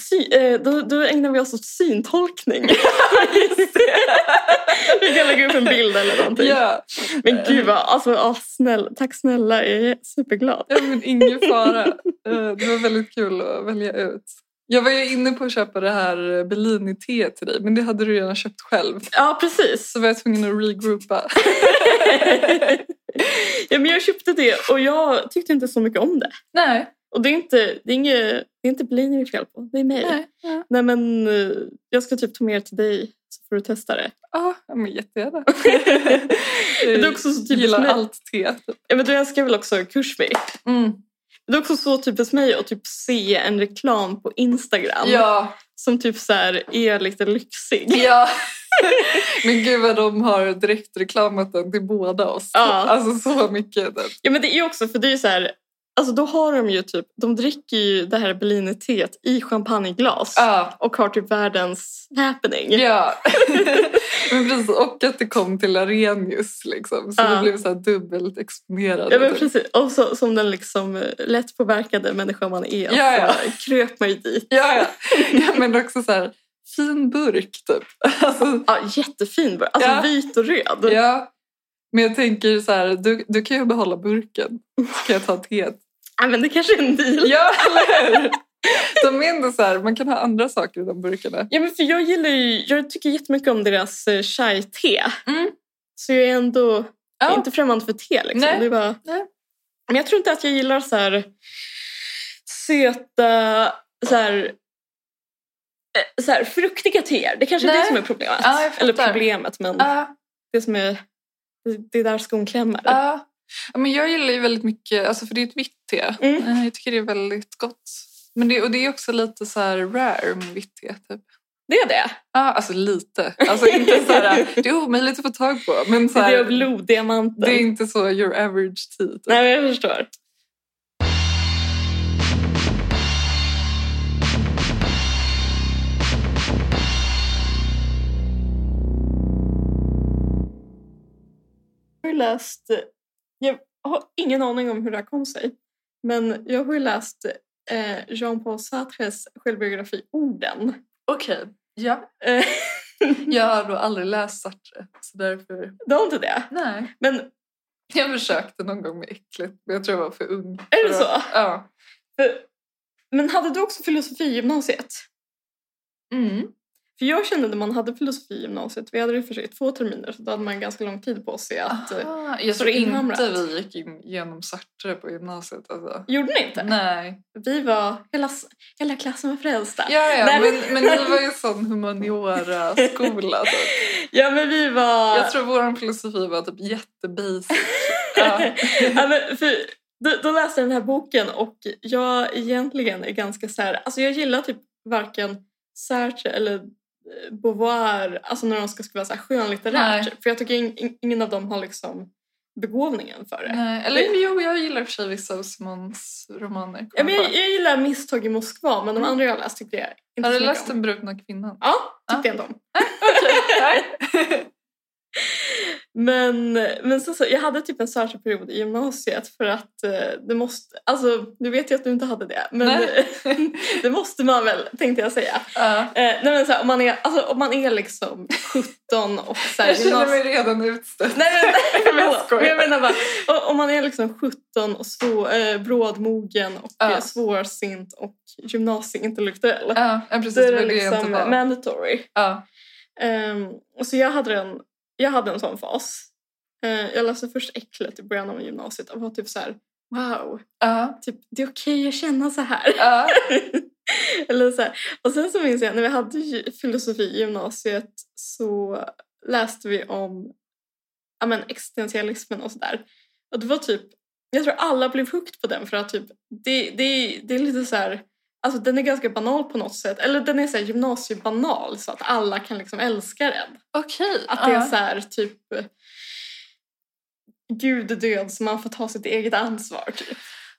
[SPEAKER 3] Sy, eh, då, då ägnar vi oss åt syntolkning. Vi kan lägga upp en bild eller någonting.
[SPEAKER 2] Ja,
[SPEAKER 3] Men gud vad, alltså, ah, snäll, tack snälla, jag är superglad.
[SPEAKER 2] ja men ingen fara. Eh, Det var väldigt kul att välja ut. Jag var ju inne på att köpa det här Bellini-teet till dig, men det hade du redan köpt själv.
[SPEAKER 3] Ja, precis.
[SPEAKER 2] Så var jag tvungen att regroupa.
[SPEAKER 3] ja, men jag köpte det och jag tyckte inte så mycket om det.
[SPEAKER 2] Nej,
[SPEAKER 3] Och det är inte, det är inget, det är inte Blinner det är fel på, det är mig.
[SPEAKER 2] nej. Ja,
[SPEAKER 3] Nej, men eh, jag ska typ ta med er till dig så får du testa det.
[SPEAKER 2] ah, ja, men jättegärna.
[SPEAKER 3] Men det är också så typiskt
[SPEAKER 2] gillar
[SPEAKER 3] mig.
[SPEAKER 2] allt te. typ.
[SPEAKER 3] Ja, men du älskar väl också Kushmi?
[SPEAKER 2] Mm.
[SPEAKER 3] Det är också så typiskt mig att typ se en reklam på Instagram
[SPEAKER 2] Ja,
[SPEAKER 3] som typ så här är lite lyxig.
[SPEAKER 2] Ja. Men gud vad de har direktreklamat den till båda oss.
[SPEAKER 3] Ja.
[SPEAKER 2] Alltså så mycket. Den.
[SPEAKER 3] Ja, men det är också för det är ju så här, alltså då har de ju typ, de dricker ju det här Bellini-teet i champagneglas
[SPEAKER 2] Ja.
[SPEAKER 3] och har typ världens happening.
[SPEAKER 2] Ja. men precis, och att det kom till Arrhenius liksom. Så
[SPEAKER 3] Ja.
[SPEAKER 2] vi blev så här dubbelt exponerade. typ.
[SPEAKER 3] Ja, men precis. Och så, som den liksom eh, lätt påverkade människa man är
[SPEAKER 2] Ja, ja.
[SPEAKER 3] så kröp man ju dit.
[SPEAKER 2] Ja, ja. ja, men också så här fin burk typ. Alltså,
[SPEAKER 3] Ja, jättefin bör- Alltså
[SPEAKER 2] Ja.
[SPEAKER 3] vit och röd.
[SPEAKER 2] ja. Men jag tänker så här, du, du kan ju behålla burken. Så kan jag ta teet.
[SPEAKER 3] Ja, men det kanske är en deal.
[SPEAKER 2] Ja, eller hur? De är ändå så här, man kan ha andra saker i de burkarna.
[SPEAKER 3] Ja, men för jag gillar ju, jag tycker jättemycket om deras eh, chai-te.
[SPEAKER 2] Mm.
[SPEAKER 3] Så jag är ändå jag är
[SPEAKER 2] Ja.
[SPEAKER 3] inte främmande för te. Liksom.
[SPEAKER 2] Nej.
[SPEAKER 3] Det är bara...
[SPEAKER 2] Nej.
[SPEAKER 3] Men jag tror inte att jag gillar så här söta, så här, eh, så här fruktiga teer. Det kanske är det
[SPEAKER 2] Nej.
[SPEAKER 3] som är problemet.
[SPEAKER 2] Ja, jag fattar.
[SPEAKER 3] Eller problemet, men
[SPEAKER 2] Ja.
[SPEAKER 3] det som är det är där skon klämmer.
[SPEAKER 2] Ja. Ja, men jag gillar ju väldigt mycket, alltså för det är ett vitt te.
[SPEAKER 3] Mm.
[SPEAKER 2] Eh, Jag tycker det är väldigt gott. Men det, och det är också lite så här rare med vitt te. Typ.
[SPEAKER 3] Det är det.
[SPEAKER 2] Ja, alltså lite. Alltså inte så här, det är omöjligt att få tag på. Men så
[SPEAKER 3] Det är det och
[SPEAKER 2] här,
[SPEAKER 3] bloddiamanten.
[SPEAKER 2] det är inte så your average tea. Typ.
[SPEAKER 3] Nej, men jag förstår. Jag har ju läst... Jag har ingen aning om hur det här kom sig. Men jag har ju läst eh, Jean-Paul Sartres självbiografi Orden.
[SPEAKER 2] Okej, ja.
[SPEAKER 3] Eh,
[SPEAKER 2] Jag har då aldrig läst Sartre. Så därför,
[SPEAKER 3] du har inte det?
[SPEAKER 2] nej.
[SPEAKER 3] Men
[SPEAKER 2] Jag försökte någon gång med äckligt, men jag tror jag var för ung.
[SPEAKER 3] Är det
[SPEAKER 2] för att-
[SPEAKER 3] så?
[SPEAKER 2] Ja.
[SPEAKER 3] För, men hade du också filosofi i gymnasiet?
[SPEAKER 2] Mm.
[SPEAKER 3] För jag kände när man hade filosofi i gymnasiet, vi hade det i och för sig två terminer, så då hade man ganska lång tid på sig att... eh,
[SPEAKER 2] Aha, jag
[SPEAKER 3] så
[SPEAKER 2] tror
[SPEAKER 3] inhamrat.
[SPEAKER 2] inte vi gick in genom Sartre på gymnasiet. Alltså.
[SPEAKER 3] Gjorde ni inte?
[SPEAKER 2] Nej.
[SPEAKER 3] Vi var... Hela, s- hela klassen var frälsta.
[SPEAKER 2] Ja, ja
[SPEAKER 3] Nej,
[SPEAKER 2] men, men ni var ju sån humaniora-skola. Typ.
[SPEAKER 3] Ja, men vi var...
[SPEAKER 2] Jag tror vår filosofi var typ jättebasic. Ja.
[SPEAKER 3] ja, men för, då, då läste jag den här boken och jag egentligen är ganska så här... Alltså jag gillar typ varken Sartre eller eh, Beauvoir, alltså när de ska skriva så här skönlitterärt.
[SPEAKER 2] Nej.
[SPEAKER 3] För jag tycker in, in, ingen av dem har liksom begåvningen för det.
[SPEAKER 2] Nej, eller jo, jag gillar i och för sig vissa Osmans romaner.
[SPEAKER 3] Ja, men jag, jag gillar Misstag i Moskva, men de
[SPEAKER 2] Mm.
[SPEAKER 3] andra jag läst tyckte jag inte
[SPEAKER 2] Har du
[SPEAKER 3] så mycket
[SPEAKER 2] läst
[SPEAKER 3] om.
[SPEAKER 2] Den brutna kvinnan?
[SPEAKER 3] Ja, tyckte jag ändå om. Men, men så, så, jag hade typ en särskild period i gymnasiet för att eh, det måste... Alltså, nu vet jag att du inte hade det, men
[SPEAKER 2] Nej.
[SPEAKER 3] det måste man väl, tänkte jag säga.
[SPEAKER 2] Ja.
[SPEAKER 3] Eh, nej, men så här, om, man är, alltså, om man är liksom 17 och så här,
[SPEAKER 2] Jag känner
[SPEAKER 3] gymnasiet-
[SPEAKER 2] mig redan utstött.
[SPEAKER 3] Nej,
[SPEAKER 2] Jag
[SPEAKER 3] men, förlåt.
[SPEAKER 2] skojar.
[SPEAKER 3] Men jag menar bara, o- om man är liksom 17 och svå, eh, brådmogen och
[SPEAKER 2] Ja.
[SPEAKER 3] eh, svårsint och gymnasieintellektuell.
[SPEAKER 2] Ja, ja, precis.
[SPEAKER 3] Så är det
[SPEAKER 2] men jag
[SPEAKER 3] liksom
[SPEAKER 2] inte var.
[SPEAKER 3] mandatory.
[SPEAKER 2] Ja.
[SPEAKER 3] Ehm, och så jag hade en, jag hade en sån fas. Eh, jag läste först Äcklet i början av gymnasiet och var typ så här: wow,
[SPEAKER 2] Ja.
[SPEAKER 3] typ, det är okej att känna så här.
[SPEAKER 2] Ja.
[SPEAKER 3] Eller så här. Och sen så minns jag när vi hade ju filosofi i gymnasiet så läste vi om ja, men, existentialismen och sådär. Och det var typ, jag tror alla blev hooked på den för att typ, det, det, det är lite så här, alltså den är ganska banal på något sätt. Eller den är så här gymnasiebanal så att alla kan liksom älska den.
[SPEAKER 2] Okej.
[SPEAKER 3] Att det är
[SPEAKER 2] ja.
[SPEAKER 3] så här typ Gud är död så man får ta sitt eget ansvar typ.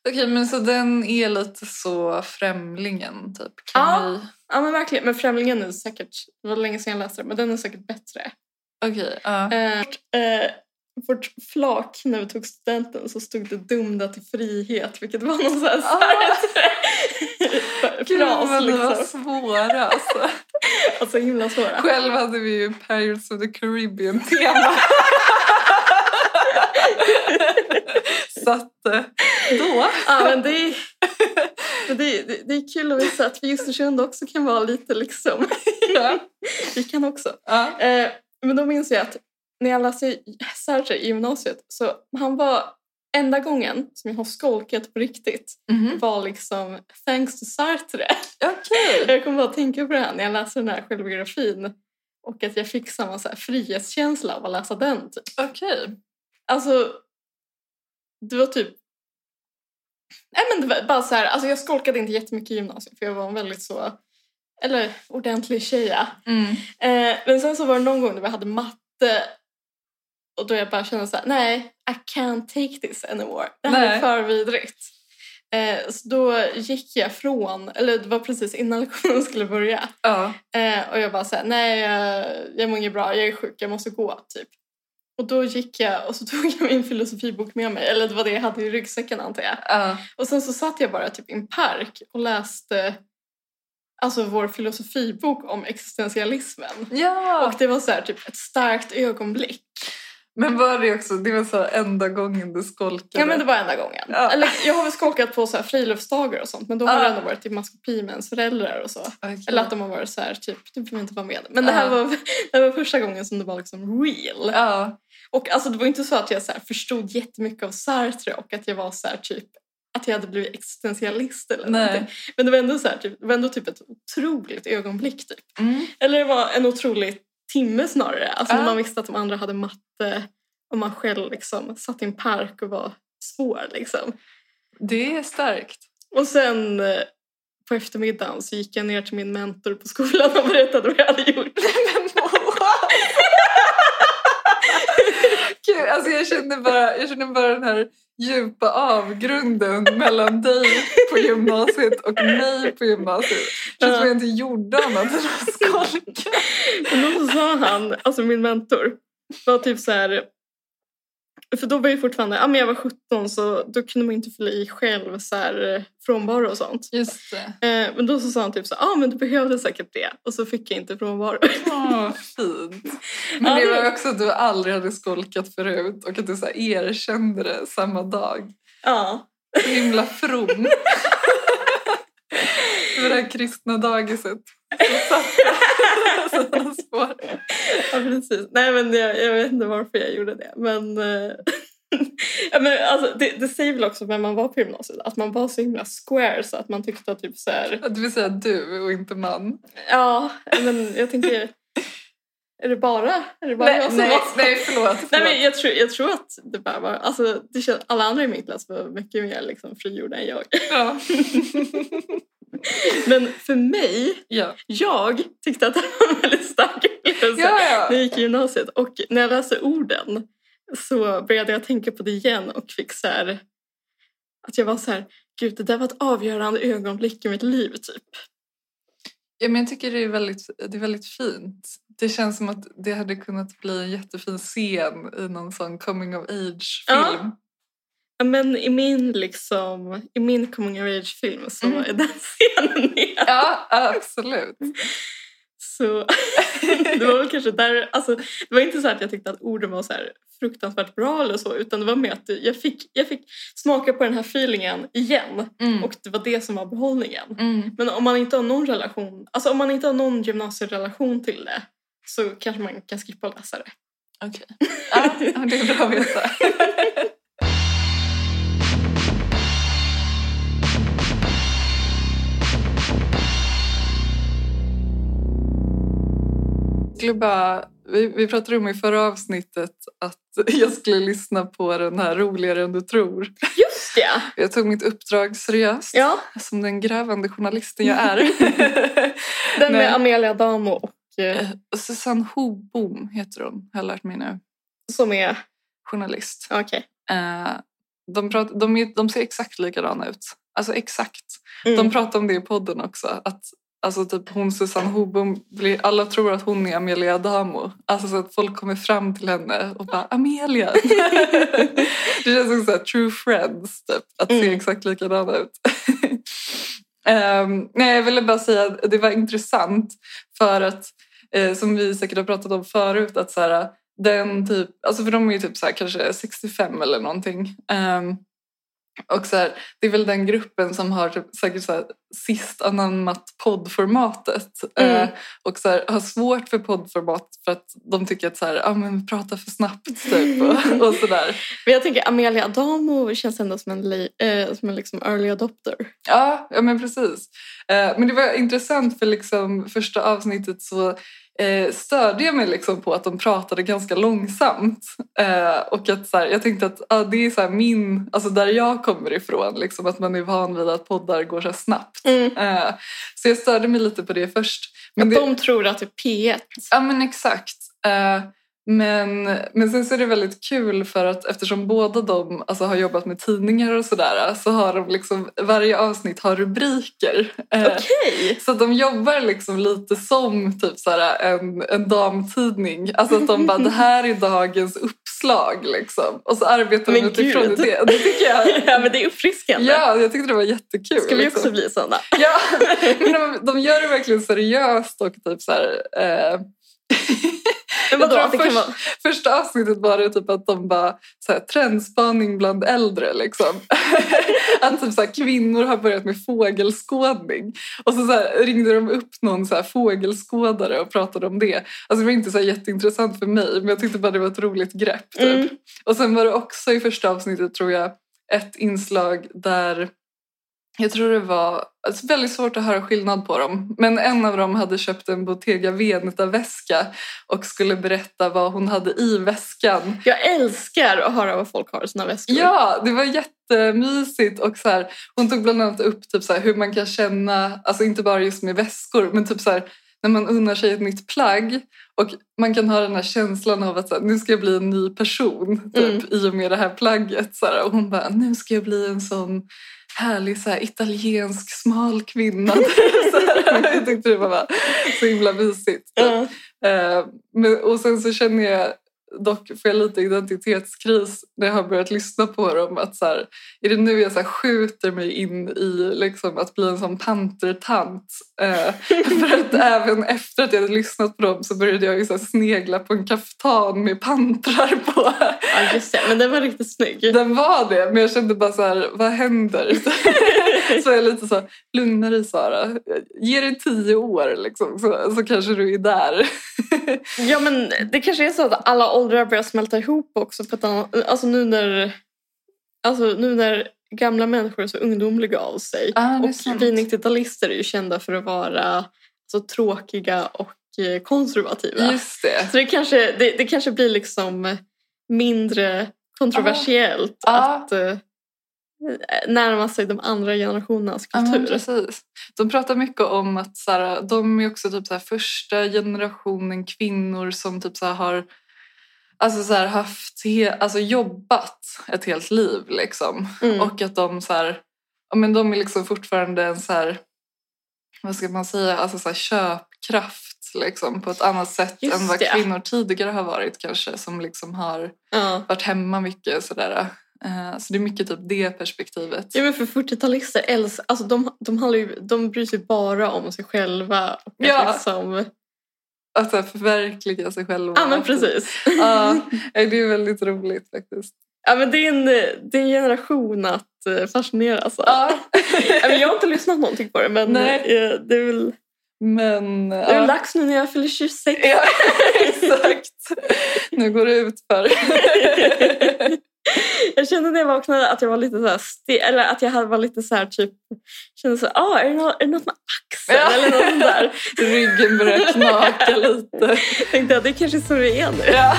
[SPEAKER 2] Okej, men så den är lite så Främlingen, typ? Kan
[SPEAKER 3] Ja.
[SPEAKER 2] vi...
[SPEAKER 3] Ja men verkligen, men Främlingen är säkert, det var länge sedan jag läste den, men den är säkert bättre.
[SPEAKER 2] Okej, ja.
[SPEAKER 3] Eh, eh, vårt flak när vi tog studenten så stod det dumda till frihet vilket var någon sån här
[SPEAKER 2] Ah.
[SPEAKER 3] ah.
[SPEAKER 2] Gud
[SPEAKER 3] fras
[SPEAKER 2] vad ni var
[SPEAKER 3] liksom.
[SPEAKER 2] svåra alltså.
[SPEAKER 3] Alltså himla svåra.
[SPEAKER 2] Själv hade vi ju Pirates of the Caribbean tema. Så att eh, då.
[SPEAKER 3] Ja, men det, är, men det, är- det, det är kul att visa att vi i Östersund också kan vara lite liksom...
[SPEAKER 2] Ja.
[SPEAKER 3] Vi kan också.
[SPEAKER 2] Ja.
[SPEAKER 3] Eh, men då minns jag att när jag läste Serge i gymnasiet så han var enda gången som jag har skolkat på riktigt
[SPEAKER 2] Mhm.
[SPEAKER 3] var liksom thanks to Sartre.
[SPEAKER 2] Okej.
[SPEAKER 3] Jag kommer bara att tänka på det här när jag läser den här självbiografin och att jag fick samma så här frihetskänsla av att läsa den. Typ.
[SPEAKER 2] Okej.
[SPEAKER 3] Alltså, det var typ... Nej men det var bara så här, alltså jag skolkade inte jättemycket i gymnasiet för jag var en väldigt så, eller ordentlig tjeja.
[SPEAKER 2] Mm.
[SPEAKER 3] Eh, men sen så var det någon gång när vi hade matte och då jag bara kände så här, nej, I can't take this anymore. Det här är
[SPEAKER 2] Nej.
[SPEAKER 3] för vidrigt. Eh, så då gick jag från, eller det var precis innan lektionen skulle börja.
[SPEAKER 2] Ja.
[SPEAKER 3] Eh, och jag bara såhär, nej jag, jag mår inget bra, jag är sjuk, jag måste gå typ. Och då gick jag och så tog jag min filosofibok med mig, eller det var det jag hade i ryggsäcken antar jag.
[SPEAKER 2] Ja.
[SPEAKER 3] Och sen så satt jag bara typ i en park och läste alltså vår filosofibok om existentialismen.
[SPEAKER 2] Ja.
[SPEAKER 3] Och det var så här, typ ett starkt ögonblick.
[SPEAKER 2] Men var det också, det var så här enda gången du skolkade?
[SPEAKER 3] Ja, men det var enda gången.
[SPEAKER 2] Ja.
[SPEAKER 3] Eller, jag har väl skolkat på så här friluftsdagar och sånt men då har
[SPEAKER 2] Ja.
[SPEAKER 3] det ändå varit i maskopi med ens föräldrar och så.
[SPEAKER 2] Okej.
[SPEAKER 3] Eller att de har varit så här typ, du behöver inte vara med. Men det här,
[SPEAKER 2] Ja.
[SPEAKER 3] var, det här var första gången som det var liksom real.
[SPEAKER 2] Ja,
[SPEAKER 3] Och alltså det var inte så att jag så här förstod jättemycket av Sartre och att jag var så här typ att jag hade blivit existentialist eller
[SPEAKER 2] Nej.
[SPEAKER 3] någonting. Men det var ändå så här typ, det var ändå typ ett otroligt ögonblick typ.
[SPEAKER 2] mm.
[SPEAKER 3] Eller det var en otrolig timme snarare. Alltså när
[SPEAKER 2] Ja.
[SPEAKER 3] man visste att de andra hade matte och man själv liksom satt i en park och var svår liksom.
[SPEAKER 2] det är starkt.
[SPEAKER 3] Och sen eh, på eftermiddagen så gick jag ner till min mentor på skolan och berättade vad jag hade gjort.
[SPEAKER 2] Gud, alltså jag känner bara, jag känner bara den här djupa avgrunden mellan dig på gymnasiet och mig på gymnasiet. Det känns som jag inte gjorde annat än att skolka.
[SPEAKER 3] Och då så sa han, alltså min mentor, var typ så här... För då var jag fortfarande, ja men jag var 17 så då kunde man inte fylla i själv så här, eh, frånvaro och sånt.
[SPEAKER 2] Just det.
[SPEAKER 3] Eh, men då så sa han typ så här, ja men du behövde säkert det. Och så fick jag inte frånvaro.
[SPEAKER 2] Åh, fint. Men
[SPEAKER 3] Ja,
[SPEAKER 2] det
[SPEAKER 3] det-
[SPEAKER 2] var också att du aldrig hade skolkat förut och att du så här erkände det samma dag.
[SPEAKER 3] Ja.
[SPEAKER 2] Så himla from. Det var det här kristna dagiset. som satte sådana spår.
[SPEAKER 3] Ja, precis. Nej, men jag, jag vet inte varför jag gjorde det. Men, eh, ja, men alltså, det, det säger väl också vem man var på gymnasiet. Att man var så himla square så att man tyckte att typ så här...
[SPEAKER 2] Det vill säga du och inte man.
[SPEAKER 3] Ja, men jag tänker... Är det bara, är det bara
[SPEAKER 2] Nej,
[SPEAKER 3] jag som
[SPEAKER 2] nej,
[SPEAKER 3] var så?
[SPEAKER 2] nej förlåt. förlåt.
[SPEAKER 3] Nej, men jag, tror, jag tror att det bara var... Alltså, det känns, alla andra i min klass var mycket mer liksom, frigjorda än jag.
[SPEAKER 2] ja.
[SPEAKER 3] Men för mig,
[SPEAKER 2] Ja.
[SPEAKER 3] jag tyckte att det var en väldigt stark upplevelse.
[SPEAKER 2] Ja, ja.
[SPEAKER 3] när jag gick i gymnasiet. Och när jag läste orden så började jag tänka på det igen och fick så här... Att jag var så här, gud det där var ett avgörande ögonblick i mitt liv typ.
[SPEAKER 2] Ja, men jag tycker det är, väldigt, det är väldigt fint. Det känns som att det hade kunnat bli en jättefin scen i någon sån coming of age-film.
[SPEAKER 3] Ja, Men i min liksom, i min coming of age-film så
[SPEAKER 2] Mm.
[SPEAKER 3] är den scenen med.
[SPEAKER 2] Ja, absolut.
[SPEAKER 3] Så det var väl kanske där, alltså det var inte så att jag tyckte att orden var så här fruktansvärt bra eller så utan det var mer att jag fick, jag fick smaka på den här feelingen igen
[SPEAKER 2] Mm.
[SPEAKER 3] och det var det som var behållningen.
[SPEAKER 2] Mm.
[SPEAKER 3] Men om man inte har någon relation, alltså om man inte har någon gymnasierelation till det så kanske man kan skippa att läsa det.
[SPEAKER 2] Okej. Ja, ja, det är bra att veta. Jag skulle bara, vi, vi pratade om i förra avsnittet att jag skulle lyssna på den här Roligare än du tror.
[SPEAKER 3] Just det!
[SPEAKER 2] Jag tog mitt uppdrag seriöst
[SPEAKER 3] Ja,
[SPEAKER 2] som den grävande journalisten jag är. Nej.
[SPEAKER 3] den med Amelia Damo och, eh,
[SPEAKER 2] Eh, Susanne Hobom heter hon, har jag lärt mig nu.
[SPEAKER 3] som är...
[SPEAKER 2] Journalist.
[SPEAKER 3] Okej.
[SPEAKER 2] Eh, de, prat, de, är- de ser exakt likadana ut. Alltså exakt.
[SPEAKER 3] Mm.
[SPEAKER 2] De pratar om det i podden också. Att, alltså typ hon Susanne Hobom, blir, alla tror att hon är Amelia Adamo. Alltså så att folk kommer fram till henne och bara Amelia. det känns som så här, true friends typ. Att se
[SPEAKER 3] Mm.
[SPEAKER 2] exakt likadana ut. Ehm, nej, jag ville bara säga att det var intressant för att, eh, som vi säkert har pratat om förut, att så här, den typ, alltså för de är ju typ så här, kanske 65 eller någonting. Ehm, och så här, det är väl den gruppen som har typ, säkert så här, sist anammat poddformatet.
[SPEAKER 3] Mm.
[SPEAKER 2] Eh, och så här, har svårt för poddformat för att de tycker att så här, ah, men vi pratar för snabbt typ, och, och sådär.
[SPEAKER 3] Men jag tänker Amelia Adamo känns ändå som en, li- eh, som en liksom early adopter.
[SPEAKER 2] Ja, ja men precis. Eh, Men det var intressant för liksom första avsnittet så eh, störde jag mig liksom på att de pratade ganska långsamt. Eh, Och att så här, jag tänkte att ah, det är så här min, alltså där jag kommer ifrån, liksom, att man är van vid att poddar går så här snabbt.
[SPEAKER 3] Mm.
[SPEAKER 2] Eh, Så jag störde mig lite på det först. Men
[SPEAKER 3] Att
[SPEAKER 2] det,
[SPEAKER 3] de tror att det är P1.
[SPEAKER 2] Ja men exakt. Eh, Men, men sen så är det väldigt kul för att eftersom båda de alltså, har jobbat med tidningar och sådär så har de liksom, varje avsnitt har rubriker. Eh,
[SPEAKER 3] Okej!
[SPEAKER 2] Så att de jobbar liksom lite som typ så här, en, en damtidning. Alltså att de bara, det här är dagens uppslag liksom. Och så arbetar de
[SPEAKER 3] Men
[SPEAKER 2] utifrån
[SPEAKER 3] gud.
[SPEAKER 2] det. Det tycker jag.
[SPEAKER 3] ja, men det är uppfriskande.
[SPEAKER 2] Ja, jag tyckte det var jättekul.
[SPEAKER 3] Ska vi
[SPEAKER 2] liksom.
[SPEAKER 3] också bli sådana?
[SPEAKER 2] Ja, men de, de gör det verkligen seriöst och typ så här... Eh,
[SPEAKER 3] Men
[SPEAKER 2] Jag
[SPEAKER 3] vadå,
[SPEAKER 2] tror
[SPEAKER 3] att det kan
[SPEAKER 2] först-
[SPEAKER 3] vara...
[SPEAKER 2] Första avsnittet var det typ att de bara så här, trendspaning bland äldre. Liksom. att typ så här, kvinnor har börjat med fågelskådning. Och så, så här, ringde de upp någon så här, fågelskådare och pratade om det. Alltså, det var inte så här, jätteintressant för mig men jag tyckte bara det var ett roligt grepp. Typ.
[SPEAKER 3] Mm.
[SPEAKER 2] Och sen var det också i första avsnittet tror jag ett inslag där jag tror det var alltså väldigt svårt att höra skillnad på dem. Men en av dem hade köpt en Bottega Veneta-väska och skulle berätta vad hon hade i väskan.
[SPEAKER 3] Jag älskar att höra vad folk har i sina väskor.
[SPEAKER 2] Ja, det var jättemysigt. Och så här, hon tog bland annat upp typ så här, hur man kan känna, alltså inte bara just med väskor, men typ så här, när man unnar sig ett nytt plagg och man kan ha den här känslan av att så här, nu ska jag bli en ny person typ, i och med det här plagget. Så här, och hon bara, nu ska jag bli en sån härlig så här, italiensk smal kvinna. så här, jag tyckte det var bara så himla mysigt. Typ.
[SPEAKER 3] Ja.
[SPEAKER 2] Eh, men, och sen så känner jag dock, får jag lite identitetskris när jag har börjat lyssna på dem. Att så här, är det nu jag så här skjuter mig in i liksom, att bli en sån pantertant? Eh, för att även efter att jag hade lyssnat på dem så började jag ju så här snegla på en kaftan med pantrar på.
[SPEAKER 3] ja, just det. Men den var riktigt snygg.
[SPEAKER 2] Den var det, men jag kände bara så här, vad händer? så jag är lite så, lugna dig Sara, ge dig tio år liksom, så, så kanske du är där.
[SPEAKER 3] Ja, men det kanske är så att alla åldrar börjar smälta ihop också. På ett annat, alltså, nu när, alltså nu när gamla människor är så ungdomliga av sig.
[SPEAKER 2] Ah, det är
[SPEAKER 3] och
[SPEAKER 2] sant.
[SPEAKER 3] vi 90-talister är ju kända för att vara så tråkiga och eh, konservativa.
[SPEAKER 2] Just det.
[SPEAKER 3] Så det kanske, det, det kanske blir liksom mindre kontroversiellt
[SPEAKER 2] Ah. Ah.
[SPEAKER 3] att eh, närma sig de andra generationernas
[SPEAKER 2] Ja, men
[SPEAKER 3] kultur.
[SPEAKER 2] precis. De pratar mycket om att så här, de är också typ så här, första generationen kvinnor som typ så här, har alltså, så här, haft he- alltså, jobbat ett helt liv. Liksom.
[SPEAKER 3] Mm.
[SPEAKER 2] Och att de, så här, ja, men de är liksom fortfarande en så här, vad ska man säga, alltså, så här, köpkraft liksom, på ett annat sätt
[SPEAKER 3] Just
[SPEAKER 2] än vad
[SPEAKER 3] det.
[SPEAKER 2] kvinnor tidigare har varit kanske. Som liksom har
[SPEAKER 3] ja.
[SPEAKER 2] varit hemma mycket. Sådär. Eh, Så det är mycket typ det perspektivet.
[SPEAKER 3] Ja men för 40-talister älskar, alltså de, de, handlar ju, de bryr sig bara om sig själva. Och att
[SPEAKER 2] Ja.
[SPEAKER 3] liksom,
[SPEAKER 2] Alltså, att så här, förverkliga sig själv.
[SPEAKER 3] ja men precis.
[SPEAKER 2] Ja, nej, det är väldigt roligt faktiskt.
[SPEAKER 3] Ja men det är en, det är en generation att eh, fascineras av.
[SPEAKER 2] Ja,
[SPEAKER 3] Ja, men jag har inte lyssnat någonting på det men
[SPEAKER 2] Nej.
[SPEAKER 3] eh, det är väl,
[SPEAKER 2] men...
[SPEAKER 3] det är väl
[SPEAKER 2] Ja,
[SPEAKER 3] dags nu när jag fyller 26.
[SPEAKER 2] ja exakt. Nu går det ut för.
[SPEAKER 3] Jag kände när jag vaknade att jag var lite så här ste- eller att jag hade- var lite så här typ, kände så här, ah, är, det något, är det något med axeln
[SPEAKER 2] Ja.
[SPEAKER 3] eller något sånt där?
[SPEAKER 2] Ryggen börjar knaka lite.
[SPEAKER 3] Tänkte jag, det är kanske är så det är nu.
[SPEAKER 2] Ja.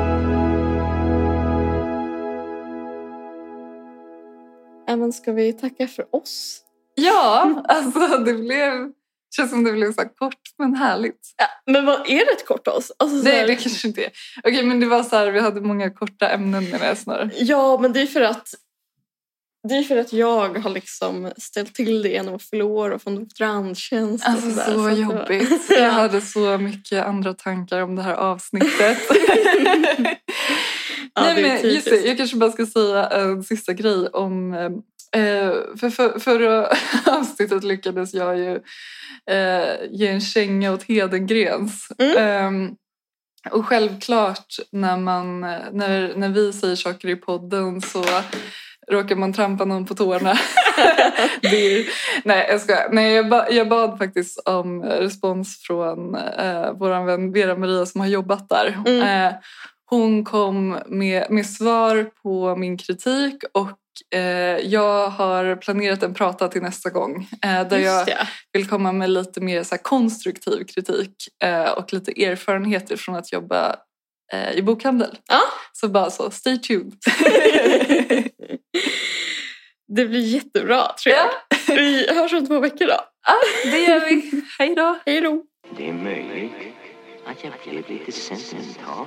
[SPEAKER 3] Ja, Äh, men ska vi tacka för oss?
[SPEAKER 2] ja, alltså det blev... känns som det blev så här kort men härligt.
[SPEAKER 3] Men vad är det ett kort oss? Alltså, så
[SPEAKER 2] Nej,
[SPEAKER 3] här-
[SPEAKER 2] det kanske inte är. Okej, men det var så här, vi hade många korta ämnen menar jag snarare.
[SPEAKER 3] Ja, men det är för att det är för att jag har liksom ställt till det genom att förlora och få en doktorandtjänst. och
[SPEAKER 2] Alltså
[SPEAKER 3] sådär,
[SPEAKER 2] så
[SPEAKER 3] att det var-
[SPEAKER 2] jobbigt. Jag hade så mycket andra tankar om det här avsnittet.
[SPEAKER 3] Ja,
[SPEAKER 2] Nej,
[SPEAKER 3] det är
[SPEAKER 2] men just det,
[SPEAKER 3] typiskt.
[SPEAKER 2] jag kanske bara ska säga en sista grej om... Eh, för, för, förra avsnittet lyckades jag ju eh, ge en känga åt Hedengrens.
[SPEAKER 3] Mm.
[SPEAKER 2] Ehm, och självklart när, man, när, när vi säger saker i podden så råkar man trampa någon på tårna. det är, nej, jag skojar. Nej, jag, ba, jag bad faktiskt om respons från eh, vår vän Vera-Maria som har jobbat där.
[SPEAKER 3] Mm.
[SPEAKER 2] Eh, hon kom med, med svar på min kritik och eh, jag har planerat en prata till nästa gång eh, där jag
[SPEAKER 3] Just det.
[SPEAKER 2] vill komma med lite mer så här, konstruktiv kritik eh, och lite erfarenheter från att jobba eh, i bokhandel.
[SPEAKER 3] Ja.
[SPEAKER 2] Så bara så, stay tuned.
[SPEAKER 3] det blir jättebra, tror jag. Vi hörs om två veckor då.
[SPEAKER 2] Det gör vi. Hej då!
[SPEAKER 3] Hej då!
[SPEAKER 1] Det är möjligt att jag vill bli till sentimental.